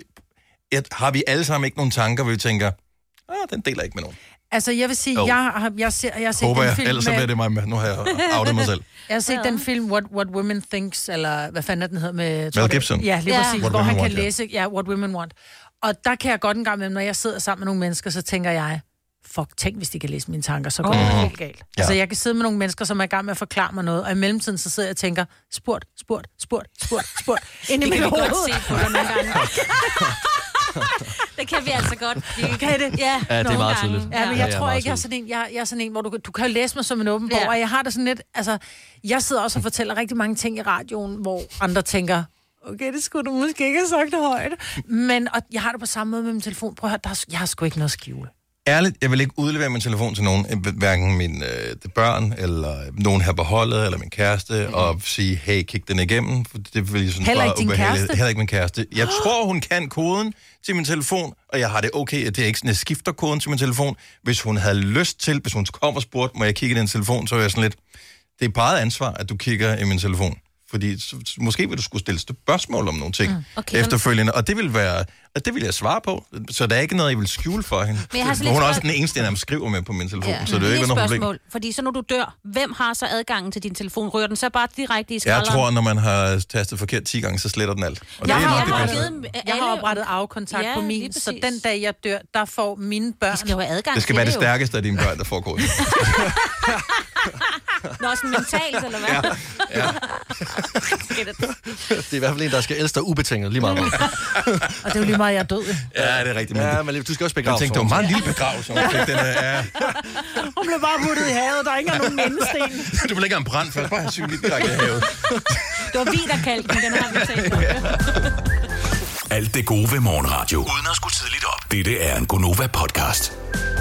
Speaker 1: at, har vi alle sammen ikke nogen tanker, hvor vi tænker, ah, den deler jeg ikke med nogen.
Speaker 3: Altså, jeg vil sige,
Speaker 1: Jo.
Speaker 3: jeg, har, jeg, ser, jeg har set
Speaker 1: Håber
Speaker 3: den
Speaker 1: jeg,
Speaker 3: film
Speaker 1: ellers så
Speaker 3: med-
Speaker 1: bliver det mig med. Nu har jeg outet mig selv.
Speaker 3: Jeg har set den film What, What Women Thinks, eller hvad fanden er den hedder med... tror det-
Speaker 1: Gibson.
Speaker 3: Ja, lige
Speaker 1: Ja.
Speaker 3: præcis,
Speaker 1: What
Speaker 3: hvor
Speaker 1: Women
Speaker 3: han kan
Speaker 1: Want, ja.
Speaker 3: læse ja, What Women Want. Og der kan jeg godt en gang imellem, når jeg sidder sammen med nogle mennesker, så tænker jeg, fuck, tænk hvis de kan læse mine tanker, så går
Speaker 5: Åh.
Speaker 3: det helt galt.
Speaker 5: Ja.
Speaker 3: Altså, jeg kan sidde med nogle mennesker, som er i gang med at forklare mig noget, og i mellemtiden så sidder jeg og tænker, spurgt, spurgt, spurgt, spurgt, spurgt.
Speaker 2: Inde i
Speaker 3: Det
Speaker 2: mit
Speaker 3: kan vi
Speaker 2: hoved.
Speaker 3: godt se på dig nogle gange.
Speaker 2: Det kan vi altså godt. Vi
Speaker 3: Kan I det?
Speaker 2: Ja,
Speaker 4: Ja, det er
Speaker 3: nogle
Speaker 4: meget
Speaker 3: gange.
Speaker 4: tydeligt.
Speaker 3: Ja, men jeg
Speaker 4: Ja, ja,
Speaker 3: tror
Speaker 4: meget
Speaker 3: ikke, jeg er sådan en, jeg, jeg er sådan en hvor du, kan- du kan jo læse mig som en åben bog, og jeg har det sådan lidt, altså, jeg sidder også og fortæller rigtig mange ting i radioen, hvor andre tænker, okay, det skulle du måske ikke have sagt højt, men og jeg har det på samme måde med min telefon. Prøv at høre, der, er- jeg har sgu ikke noget at skjule.
Speaker 1: Ærligt, jeg vil ikke udlevere min telefon til nogen, øh, hverken mine øh, børn, eller nogen her på holdet, eller min kæreste, mm. og sige, hey, kig den igennem. For det vil jeg synes
Speaker 5: Heller
Speaker 1: bare
Speaker 5: ikke din
Speaker 1: ubehageligt.
Speaker 5: kæreste?
Speaker 1: Heller ikke min kæreste. Jeg tror, hun kan koden til min telefon, og jeg har det okay, at det er ikke sådan, at jeg skifter koden til min telefon. Hvis hun havde lyst til, hvis hun kom og spurgte, må jeg kigge i den telefon, så er jeg sådan lidt, det er bare ansvar, at du kigger i min telefon. Fordi så, så- måske vil du skulle stille spørgsmål om nogle ting mm.
Speaker 2: Mm.
Speaker 1: okay,
Speaker 2: Okay.
Speaker 1: efterfølgende, og det vil være, og det vil jeg svare på. Så der er ikke noget, jeg vil skjule for hende.
Speaker 2: Men jeg har sådan
Speaker 1: hun
Speaker 2: lidt
Speaker 1: er også den
Speaker 2: spørg-
Speaker 1: eneste, jeg nærmest skriver med på min telefon, ja. så det er jo
Speaker 2: Lige
Speaker 1: ikke noget problem.
Speaker 2: spørgsmål, fordi så når du dør, hvem har så adgangen til din telefon? Rører den så bare direkte i
Speaker 1: Jeg
Speaker 2: skralderen?
Speaker 1: tror, når man har tastet forkert 10 gange, så sletter den alt. Og
Speaker 3: Jeg
Speaker 1: det er
Speaker 3: har-
Speaker 1: nok
Speaker 3: jeg har
Speaker 1: det bedste.
Speaker 3: Jeg har oprettet arvekontakt
Speaker 2: Ja,
Speaker 3: på min,
Speaker 2: lige
Speaker 3: så
Speaker 2: præcis.
Speaker 3: den dag jeg dør, der får mine børn... De skal
Speaker 2: jo have adgang
Speaker 1: Det skal være det stærkeste af dine børn, der får koden.
Speaker 2: Nå, sådan mentalt, eller hvad?
Speaker 4: Ja. Ja. det er i hvert fald en, der skal elske dig ubetinget lige meget. hvad.
Speaker 3: Og det er jo lige meget, jeg er død.
Speaker 1: Ja, det er rigtigt. Men
Speaker 4: Ja, men du skal også
Speaker 1: jeg
Speaker 4: begraves.
Speaker 1: tænkte, det var meget en lille begravelse. hun fik. Den er- ja.
Speaker 3: Hun blev bare puttet i havet, der er ikke engang nogen mindesten.
Speaker 1: Du vil ikke have en brand først, bare have synligt direkte i havet.
Speaker 2: Det var vi, der kaldte den, den har vi talt om.
Speaker 7: Alt det gode ved morgenradio. Uden at skulle tidligt op. Dette er en Gonova-podcast.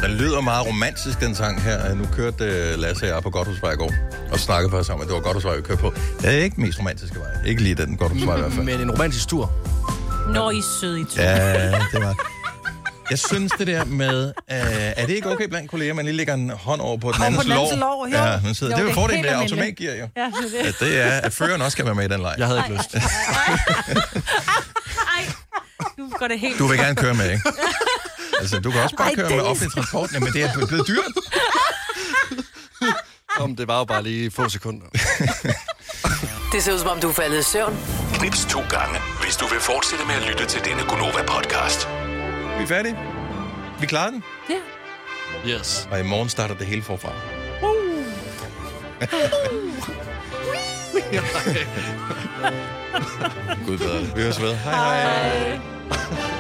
Speaker 1: Den lyder meget romantisk, den sang her. Nu kørte øh, Lasse og jeg på Godhusvej i går, og snakkede faktisk om, at det var Godhusvej, vi kørte på. Det er ikke den mest romantiske vej. Ikke lige den Godhusvej i hvert fald.
Speaker 4: Men en romantisk tur.
Speaker 2: Når I er søde i tur.
Speaker 1: Ja, det var... Jeg synes det der med, øh, er det ikke okay blandt kolleger, man lige lægger en hånd over på den
Speaker 5: Over
Speaker 1: andens
Speaker 5: på den
Speaker 1: lår?
Speaker 5: andens lår, jo.
Speaker 1: ja, man sidder.
Speaker 5: Jo,
Speaker 1: det er
Speaker 5: det
Speaker 1: jo
Speaker 5: er
Speaker 1: fordelen
Speaker 5: helt
Speaker 1: ved
Speaker 5: almindeligt. Ja,
Speaker 1: automatgear, jo.
Speaker 5: det er det.
Speaker 1: Ja, det er, at føreren også skal være med i den leg.
Speaker 4: Jeg havde ikke lyst.
Speaker 2: Nu går det helt...
Speaker 1: Du vil gerne køre med, ikke? Altså, du kan også bare køre med offentlig transport, men det er blevet dyrt.
Speaker 4: Om det var jo bare lige få sekunder.
Speaker 6: Det ser ud som om, du er faldet i søvn.
Speaker 7: Knips to gange, hvis du vil fortsætte med at lytte til denne Gonova-podcast.
Speaker 1: Vi er færdige. Vi klarer den.
Speaker 2: Ja.
Speaker 4: Yes.
Speaker 1: Og i morgen starter det hele forfra. Gud bedre. Vi høres ved. Hej hej.